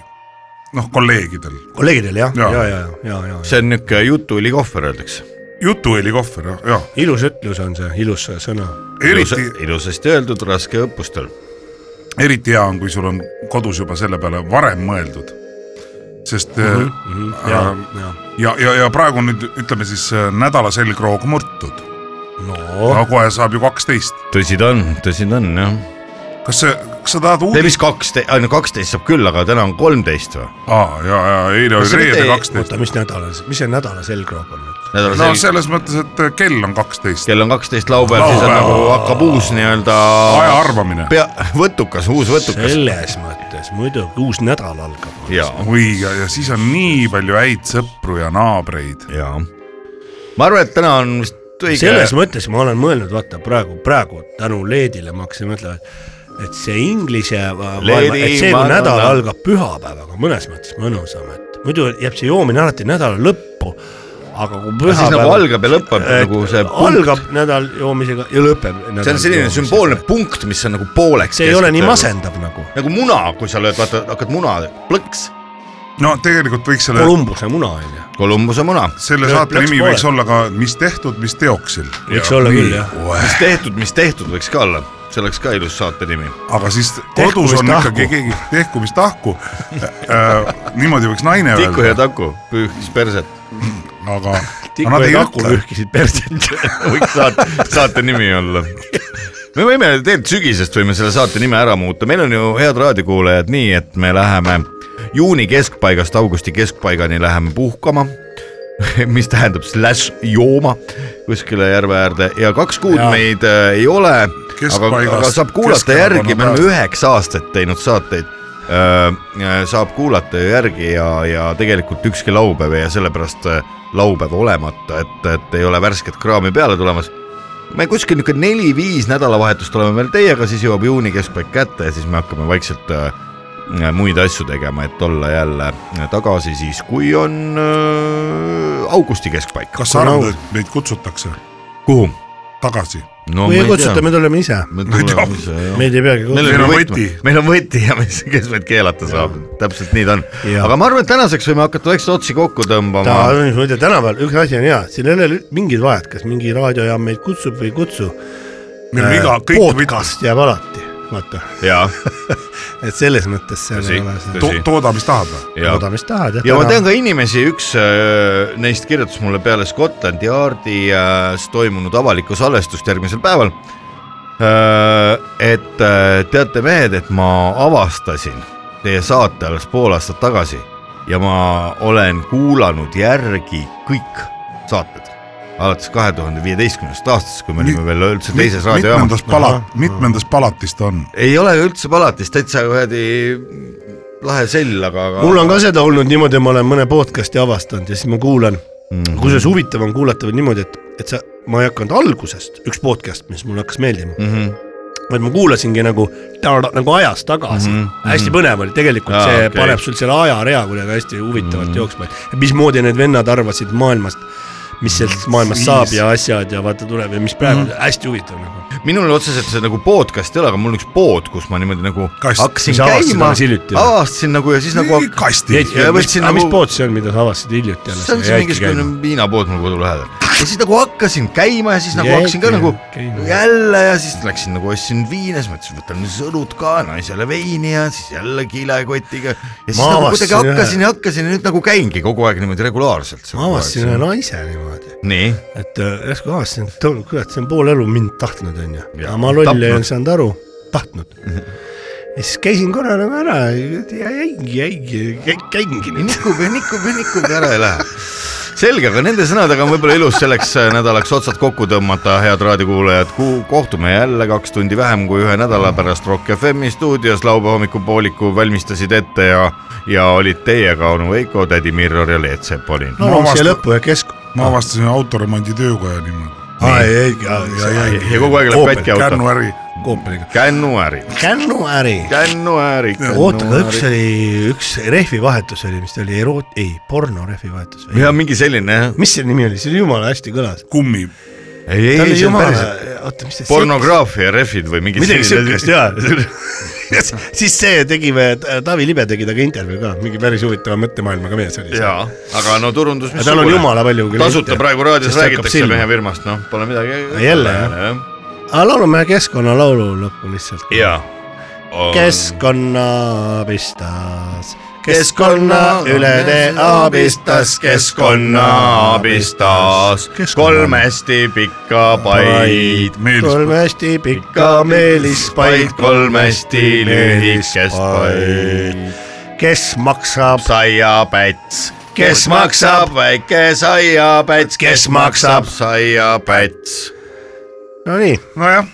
F: noh , kolleegidel ,
E: kolleegidel jah , ja ,
F: Jaa.
E: ja , ja , ja, ja. .
D: see on niisugune jutuõli kohver , öeldakse .
F: jutuõli kohver , jah ,
E: ilus ütlus on see , ilus sõna .
F: eriti ,
D: ilusasti öeldud , raske õppustel .
F: eriti hea on , kui sul on kodus juba selle peale varem mõeldud , sest mm
D: Mhm,
F: -hmm.
E: ja
F: Aga- ,
E: ja ,
F: ja , ja , ja praegu on nüüd ütleme siis äh, nädala selgroog murtud ,
D: Oh.
E: no
F: aga kohe saab ju kaksteist .
D: tõsi ta on , tõsi ta on jah
F: kas see , kas sa tahad
D: ei ,
F: uudist ?
D: mis kaksteist , no kaksteist saab küll , aga täna on kolmteist või ?
F: aa , ja , ja eile
D: Kas
F: oli
D: see mitte
F: reede
D: ei-
F: kaksteist .
E: oota , mis nädalal , mis see nädala selgroog on nüüd ?
D: nädal
F: no
D: no, see... ,
F: selles mõttes , et äh, kell on kaksteist .
D: kell on kaksteist laupäev , siis on
F: Laupäev.
D: nagu hakkab uus nii-öelda
F: aja arvamine .
D: pea , võtukas , uus võtukas .
E: selles mõttes muidugi uus nädal algab .
D: ja ,
F: oi , ja , ja siis on nii palju häid sõpru ja naabreid .
D: ja ma arvan , et täna on vist
E: selles
D: õige .
E: mõttes ma olen mõelnud , vaata praegu , praegu tänu Leedile ma hakkasin mõtlema , et et see inglise va- maailma ,
D: Leedi,
E: et see kui
D: ma-
E: nädal
D: ma-
E: algab pühapäevaga , mõnes mõttes mõnusam , et muidu jääb see joomine alati nädala lõppu , aga kui
D: siis
E: pühapäev
D: nagu algab ja lõpeb
E: et
D: nagu see punkt ,
E: algab nädal joomisega ja lõpeb .
D: see on selline sümboolne . punkt , mis on nagu pooleks .
E: see ei ole nii . masendav nagu .
D: nagu muna , kui sa lööd , vaata , hakkad muna , plõks ,
F: no tegelikult võiks selle ,
L: Kolumbuse muna on ju .
D: Kolumbuse muna ,
F: selle
L: Lö-
F: saate
L: plõks
F: nimi
L: poole.
F: võiks olla ka Mis tehtud , mis teoksil .
L: võiks olla küll jah .
D: mis tehtud , mis tehtud võiks ka olla , see oleks ka ilus saate nimi .
F: aga siis
L: Tehku,
F: kodus
L: mis
F: on
L: tahku.
F: ikkagi keegi , tehku mis tahku äh, . niimoodi võiks naine
D: Tiku ja
F: öelda ,
D: Taku pühkis perset .
F: aga aga
L: tiku
F: nad ei
L: ja taku
F: ütle .
L: pühkisid perset .
D: võiks saate , saate nimi olla . me võime tegelikult sügisest võime selle saate nime ära muuta , meil on ju head raadiokuulajad nii , et me läheme juuni keskpaigast augusti keskpaigani läheme puhkama mis tähendab slaš jooma kuskile järve äärde ja kaks kuud ja.
L: Jaa.
D: meid äh, ei ole , aga ,
F: Keskpaigast
D: aga saab kuulata
F: Keskerakonna
D: järgi , me oleme
F: päev.
D: üheksa aastat teinud saateid . saab kuulata ju järgi ja , ja tegelikult ükski laupäev ja sellepärast äh, laupäev olemata , et , et ei ole värsket kraami peale tulemas . me kuskil niisugune neli-viis nädalavahetust oleme veel teiega , siis jõuab juuni keskpaik kätte ja siis me hakkame vaikselt äh, muid asju tegema , et olla jälle tagasi siis , kui on äh, augusti keskpaik .
F: kas sa arvad , et meid kutsutakse
D: kuhu ?
F: tagasi ?
D: no
E: kui ei kutsuta , me tuleme ise ,
D: me tuleme .
E: meid ei peagi kutsuma .
F: Meil on
D: võti
F: võti. ,
D: meil on võti ja mis , kes meid keelata saab , täpselt nii ta on .
E: Jaa.
D: aga ma arvan , et tänaseks võime hakata väikseid otsi kokku
E: ta
D: tõmbama .
E: on muide tänapäeval , üks asi on hea , siin ei ole lü- mingit vahet , kas mingi raadiojaam meid kutsub või ei kutsu .
F: meil
L: Äh,
F: on iga , kõik võidaks
E: podcast jääb alati , vaata ,
D: ja ,
E: et selles mõttes seal
D: tõsi
E: ei ole , seda .
F: to, , tooda , mis tahad või ?
D: ja ,
E: looda , mis tahad jah .
D: ja ma tean ka inimesi , üks äh, neist kirjutas mulle peale Scotland Yardis toimunud avalikku salvestust järgmisel päeval . et äh, teate mehed , et ma avastasin teie saate alles pool aastat tagasi ja ma olen kuulanud järgi kõik saated alates kahe tuhande viieteistkümnendast aastast , kui me
F: Mi-
D: olime veel üldse teises raadiojaamas
F: mitmendas . palat- , mitmendas palatis ta on ?
D: ei ole üldse palatis , täitsa kuradi lahe sell , aga , aga
E: mul on ka seda olnud niimoodi , ma olen mõne podcast'i avastanud ja siis ma kuulan
D: Mhm.
E: mm. , kusjuures huvitav on kuulata veel niimoodi , et , et sa , ma ei hakanud algusest , üks podcast , mis mulle hakkas meeldima mm ,
D: Mhm.
E: -hmm. vaid ma kuulasingi nagu , nagu ajas tagasi mm , -hmm. hästi põnev oli , tegelikult
D: Mhm. Aa,
E: Aa, see
D: okei. Mhm.
E: okay. paneb sul selle ajarea kuidagi hästi huvitavalt mm -hmm. jooksma , et mismoodi need vennad arvasid maailmast , mis sellest maailmast saab ja asjad ja vaata tuleb ja mis praegu
D: Mhm.
E: mm , -hmm. hästi huvitav nagu .
D: minul otseselt see nagu podcast ei ole , aga mul on üks pood , kus ma niimoodi nagu
F: Kast,
D: hakkasin
E: mis sa avastasid
D: käima
E: alles hiljuti või?
D: avastasin nagu ja siis nagu
F: mingi kasti .
D: Ja võtsin
E: aga mis
D: nagu-
E: pood see on , mida sa avastasid hiljuti alles
D: see on ? see mingisugune viinapood mul kodu lähedal ja siis nagu hakkasin käima ja siis nagu hakkasin ka
E: Jäi-
D: nagu
E: käima.
D: jälle ja siis läksin nagu ostsin viina , siis mõtlesin , võtan nüüd õlut ka , naisele veini ja siis jälle kilekotiga ja siis
E: Ma
D: nagu kuidagi
E: avastasin
D: hakkasin
E: ühe-
D: ja hakkasin ja nüüd nagu käingi kogu aeg niimoodi regulaarselt .
E: ma avastasin ühe . naise niimoodi .
D: nii ,
E: et äh, järsku avastasin , et too- kurat , see on pool elu mind tahtnud , onju .
D: Jaa,
E: aga ma loll ei
D: tapnud.
E: olnud saanud aru , tahtnud . ja siis käisin korra nagu ära ja ja jäigi , jäigi , käingi nüüd .
D: nikub ja nikub ja nikub ja ära ei lähe selge , aga nende sõnadega on võib-olla ilus selleks äh, nädalaks otsad kokku tõmmata , head raadiokuulajad , kohtume jälle kaks tundi vähem kui ühe nädala pärast Rock FM-i stuudios , laupäeva hommikupooliku valmistasid ette ja ja olid teiega onu Veiko , tädi Mirror ja Leet Sepp olin .
E: no
F: Ma
E: no siia
F: avastan-
E: lõppu ja kesku .
F: ma avastasin autoremondi töökoja niimoodi .
E: aa , ei , ei ,
D: ja ja kogu aeg läheb katki auto .
F: kärnuäri .
E: kooperiga .
D: kännuäri ,
E: kännuäri .
D: kännuäri .
E: oota , aga üks oli , üks rehvivahetus oli , mis ta oli , eroot- , ei , porno rehvivahetus või ?
D: ja mingi selline jah .
E: mis selle nimi oli , see oli jumala hästi kõlas .
F: kummi .
D: ei , ei ,
E: ta oli
D: see on
E: jumala
D: päriselt ,
E: oota , mis see
D: pornograafia rehvid või mingi
E: midagi
D: selline-
E: siukest jaa . siis see tegime , Taavi Libe tegi temaga intervjuu ka , mingi päris huvitava mõttemaailmaga mees oli see .
D: jaa , aga no turundus .
E: aga tal on jumala palju .
D: tasuta praegu raadios räägitakse mehe . firmast , noh , pole midagi .
E: jälle, aga laulame keskkonnalaulu lõppu lihtsalt .
D: jaa .
E: keskkonna abistas , keskkonna üle tee abistas , keskkonna abistas ,
D: kolmesti pikka paid ,
F: meeldis .
E: kolmesti pikka meelispaid ,
D: paid kolmesti lühikest paid .
E: kes maksab ,
D: saiapäts ,
E: Kes maksab?
D: väike saiapäts ,
E: Kes maksab?
D: saiapäts .
E: nonii .
F: nojah ,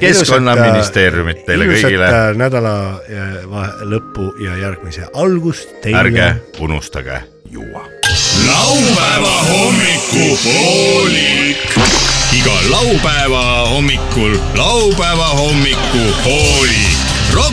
D: keskkonnaministeeriumit teile kõigile ,
E: ilusat äh, nädala äh, vahe- lõppu ja järgmise algust teile .
D: ärge unustage juua .
A: laupäeva hommikupoolik . iga laupäeva hommikul laupäeva hommikupoolik . Rock